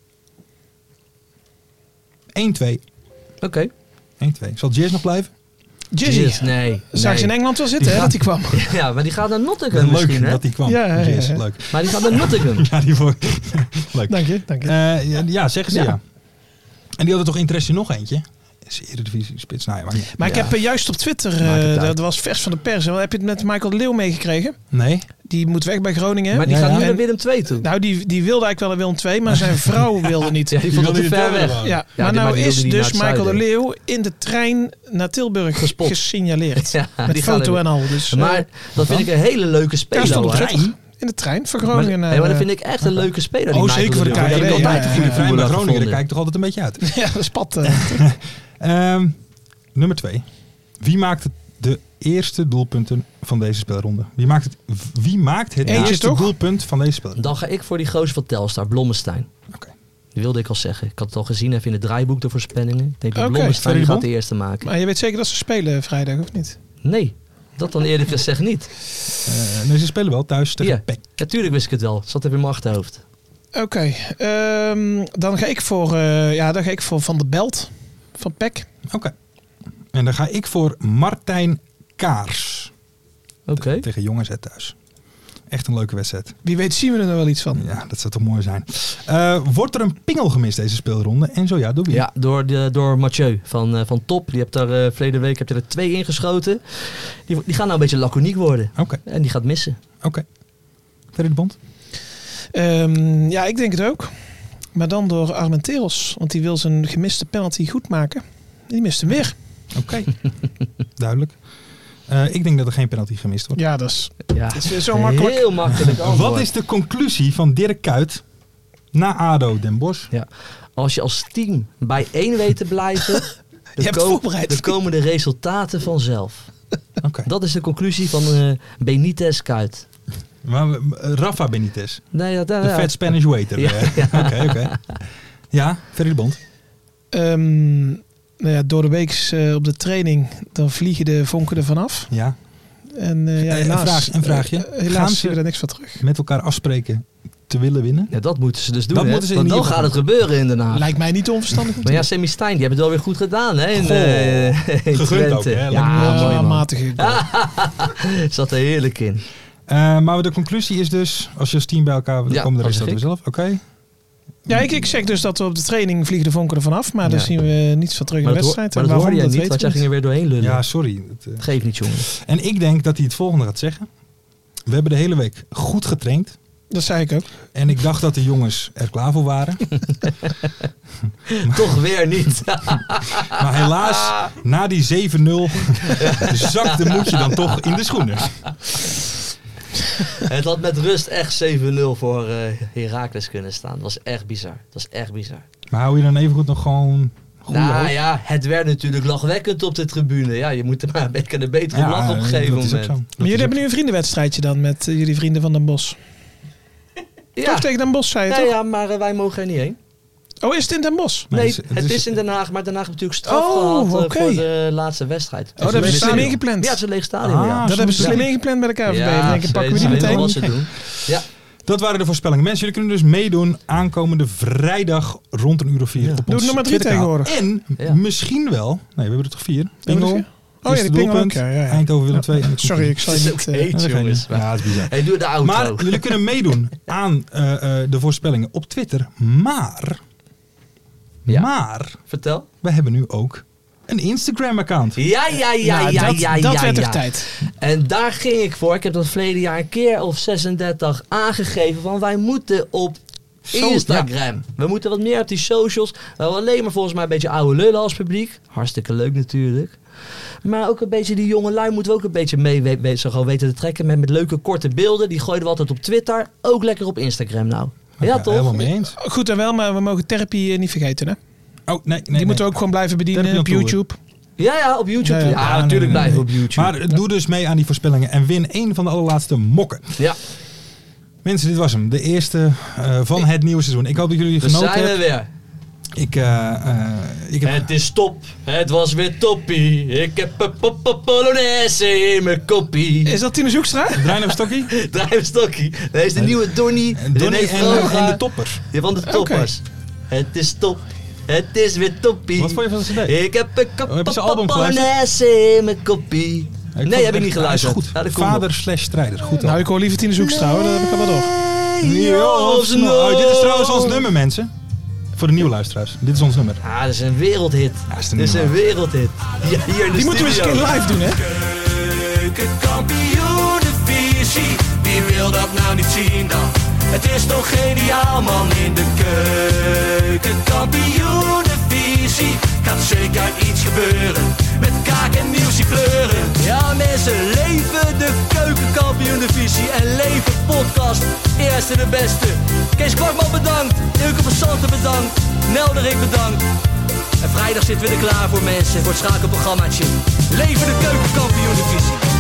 1-2. Oké. 1-2. Zal Jazz nog blijven? Jizzy. Yes, nee. Zag je in nee. Engeland wel zitten, Die hè, dat gaat- hij kwam. Ja, maar die gaat naar Nottingham misschien, leuk hè? dat die kwam. Ja, ja, ja, Jazz, ja. leuk. Maar die gaat naar Nottingham. Ja, die voor... leuk. Dank je, dank je. Eh, ja, ja, zeggen ze ja. Ja. En die hadden toch interesse in nog eentje? Is Eredivisie spits. Nou ja, maar niet. Maar ik Ja. heb eh, juist op Twitter, Maakt het eh, uit. dat was vers van de pers. En wat heb je het met Michael de Leeuw meegekregen? Nee? Die moet weg bij Groningen. Maar die Ja, gaat ja. nu En- naar Willem 2 toe. Nou, die, die wilde eigenlijk wel naar Willem 2, maar zijn vrouw wilde niet. Ja, Ja, die vond het te wilde ver niet weg. doorgaan. die- maar maar nou die is wilde niet naar dus het Michael de zuiden. Leeuw in de trein naar Tilburg Gespot. gesignaleerd. Ja, met die gaan foto er- en al. Dus, eh, Maar dat vind ik een hele leuke daar speler. stond op hoor. Twitter. In de trein van Maar, Groningen. nee, maar dat eh, vind ik echt een leuke speler. die Oh, Michael zeker voor de Leeuw. KKD, Ik heb ja, altijd een ja, goede ja. Vrij bij voetballer gevonden. Groningen, daar kijk ik toch altijd een beetje uit. Ja, dat spat. eh. Ehm, nummer 2. Wie maakt het de eerste doelpunten van deze spelronde? Wie maakt het, wie maakt het Eentje eerste toch? doelpunt van deze spelronde? Dan ga ik voor die gozer van Telstar, Blommestein. Oké. Die wilde ik al zeggen. Ik had het al gezien even in het draaiboek de voorspellingen. Ik denk dat Oké, Blommestein Freddy die gaat Bom? de eerste maken. Maar je weet zeker dat ze spelen vrijdag, of niet? Nee, dat dan eerlijk gezegd niet. Eh, nee, ze spelen wel thuis tegen E Ja. PEC. Natuurlijk wist ik het wel. Het zat even in mijn achterhoofd. Oké, ehm, dan ga ik voor, eh, ja, dan ga ik voor Van de Belt van E Peck. Oké. En dan ga ik voor Martijn Kaars Oké. tegen Jong AZ thuis. Echt een leuke wedstrijd. Wie weet zien we er nou wel iets Oh. van. Ja, dat zou toch mooi zijn. Eh, wordt er een pingel gemist deze speelronde? En zo ja, door wie? Ja, door, de, door Mathieu van, eh, van Top. Die hebt daar eh verleden week hebt er twee ingeschoten. Die, die gaan nou een beetje laconiek worden. Oké, En die gaat missen. oké. Verder de Bond? Ehm, ja, ik denk het ook. Maar dan door Armenteros, want die wil zijn gemiste penalty goed maken. Die mist hem weer. Oké. Duidelijk. Eh, ik denk dat er geen penalty gemist wordt. Ja, dat is, Ja. dat is weer zo makkelijk. Heel makkelijk antwoord. Wat is de conclusie van Dirk Kuyt na ADO Den Bosch? Ja. Als je als team bij één weet te blijven, de, hebt voorbereid. de komende resultaten vanzelf. Oké. Dat is de conclusie van eh Benitez Kuit. Maar eh, Rafa Benitez, Nee, ja, daar, de ja. fat Spanish waiter. Eh, Ja. eh. Oké, oké. Ja, Ferry de Bond. Ehm, nou ja, door de week eh, op de training, dan vliegen de vonken er vanaf. Ja. En eh, ja, Eh, een helaas, vraag- een vraagje. eh, Gaan ze- helaas zien we daar niks van terug. Met elkaar afspreken te willen winnen. Ja, dat moeten ze dus doen. Dat hè? moeten ze in Want dan ieder gaat geval het gebeuren in Den Haag. Lijkt mij niet onverstandig. om te Maar ja, Semi Stein, die hebben het wel weer goed gedaan. Hè, in, Goh, eh, in gegund Twente. ook, hè? Ja, Lekker. doen. mooi Ja, man. matige goal. Zat er heerlijk in. Eh, maar de conclusie is dus, als je als team bij elkaar... Dan Ja, komen de dat rest zeg ook ik. zelf. Oké. Ja, ik, ik zeg dus dat we op de training vliegen de vonken er vanaf, maar daar Ja. zien we niets van terug in Maar de dat, hoor- wedstrijd. maar dat En hoorde jij waarom, niet, want jij ging weten er weer doorheen lullen. Ja, sorry. Het, eh. Geef niet, jongen. En ik denk dat hij het volgende gaat zeggen. We hebben de hele week goed getraind. we niet. Dat zei ik ook. En ik dacht dat de jongens er klaar voor waren. Toch weer niet. Maar helaas, na die 7-0 zakte Moetje dan toch in de schoenen. Het had met rust echt 7-0 voor eh Herakles kunnen staan. Dat was echt bizar. Dat was echt bizar. Maar hou je dan even goed nog gewoon goed nou ja, het werd natuurlijk lachwekkend op de tribune. Ja, je moet er maar een beetje een betere lach op een gegeven moment. Maar jullie hebben nu een vriendenwedstrijdje dan met eh, jullie vrienden van Den Bos. Ja. Toch tegen Den Bos zei je Ja, toch? ja, maar eh, wij mogen er niet heen. Oh, is het in Den Bos? Nee, Nee, het is- het, het is- is in Den Haag, maar Den Haag heeft natuurlijk straf Oh, gehad eh, oké. voor de laatste wedstrijd. Oh, dat hebben ze leeg slim stadion. ingepland. Ja, het is een leeg stadion, ja. Ah, dat hebben ze soms- slim ingepland bij de KVB. Ja, denk ik, pakken we ze die weten wel meteen. Wat ze doen. Ja, Dat waren de voorspellingen. Mensen, jullie kunnen dus meedoen aankomende vrijdag rond een uur of vier. Ja. Op ons Doe het nog maar drie Twitterkanaal. En Ja. misschien wel, nee, we hebben er toch vier. Hebben we er Pingel, vier? Oh ja, eerste die pingel ook. doelpunt, Ja, ja, ja. Eindhoven Willem Ja. II. en de Sorry, ik zal je Het is ook niet... eh, heet, jongens. Ja, dat is bizar. hey, doe de auto. Maar jullie kunnen meedoen aan eh, eh, de voorspellingen op Twitter. Maar, Ja. maar, Vertel. we hebben nu ook een Instagram-account. Ja, ja, ja, ja, nou, ja, dat, ja, dat werd ja. toch tijd. En daar ging ik voor. Ik heb dat verleden jaar een keer of 36 aangegeven van wij moeten op Zo, Instagram. We moeten wat meer op die socials. We hebben alleen maar volgens mij een beetje oude lullen als publiek. Hartstikke leuk natuurlijk. Maar ook een beetje die jonge lui moeten we ook een beetje mee we, we- zo gewoon weten te trekken. Met, met leuke korte beelden. Die gooiden we altijd op Twitter. Ook lekker op Instagram nou. ja, toch? Helemaal mee eens. Goed en wel, maar we mogen therapie eh, niet vergeten. Hè? Oh, nee, nee. die moeten we ook gewoon blijven bedienen Therapie op op tour. YouTube. Ja, ja, op YouTube. Ja, Ja, ja. Ja, nee, natuurlijk nee, nee, blijven nee. op YouTube. Maar doe dus mee aan die voorspellingen en win één van de allerlaatste mokken. ja, Mensen, dit was hem. De eerste eh, van het nieuwe seizoen. Ik hoop dat jullie we genoten zijn er hebben. weer. Ik, eh, eh, ik heb... Het is top, het was weer toppie. Ik heb een po- po- polonaise in mijn koppie. Is dat Tinus Hoekstra? Draai nog stokkie. Drijfstokkie. Dat is de nieuwe Donny. En Donnie René en, Ah. Vroga. en de topper. Ja, van de toppers. Het is top. Het is weer toppie. Wat vond je van zijn CD? Ik heb een Oh, heb je zijn album polonaise in mijn koppie. vond nee, heb het ik echt- niet geluisterd. Hij is Ja, goed. dat komt Vader slash strijder. Goed Nou, ik hoor liever Tinus Hoekstra hoor, dat heb ik allemaal door. nou. Oh, dit is trouwens ons nummer, mensen. Voor de nieuwe luisteraars. Dit is ons nummer. op. Ah, dat is een wereldhit. dat is de dit is een nummer. wereldhit. Ja, hier in de Die moeten we eens een studio. keer live doen, hè? Keukenkampioenenvisie, wie wil dat nou niet zien dan? Het is toch geniaal man in de keukenkampioenenvisie. Gaat zeker iets gebeuren, met kaak en nieuwsie pleuren. Ja mensen, leven de keukenkampioen divisie en leven podcast. Eerste de beste. Kees Kwakman bedankt, Ilke van Santen bedankt, Nelderik bedankt. En vrijdag zitten we er klaar voor mensen, voor het schakelprogrammaatje. Leven de keukenkampioen divisie.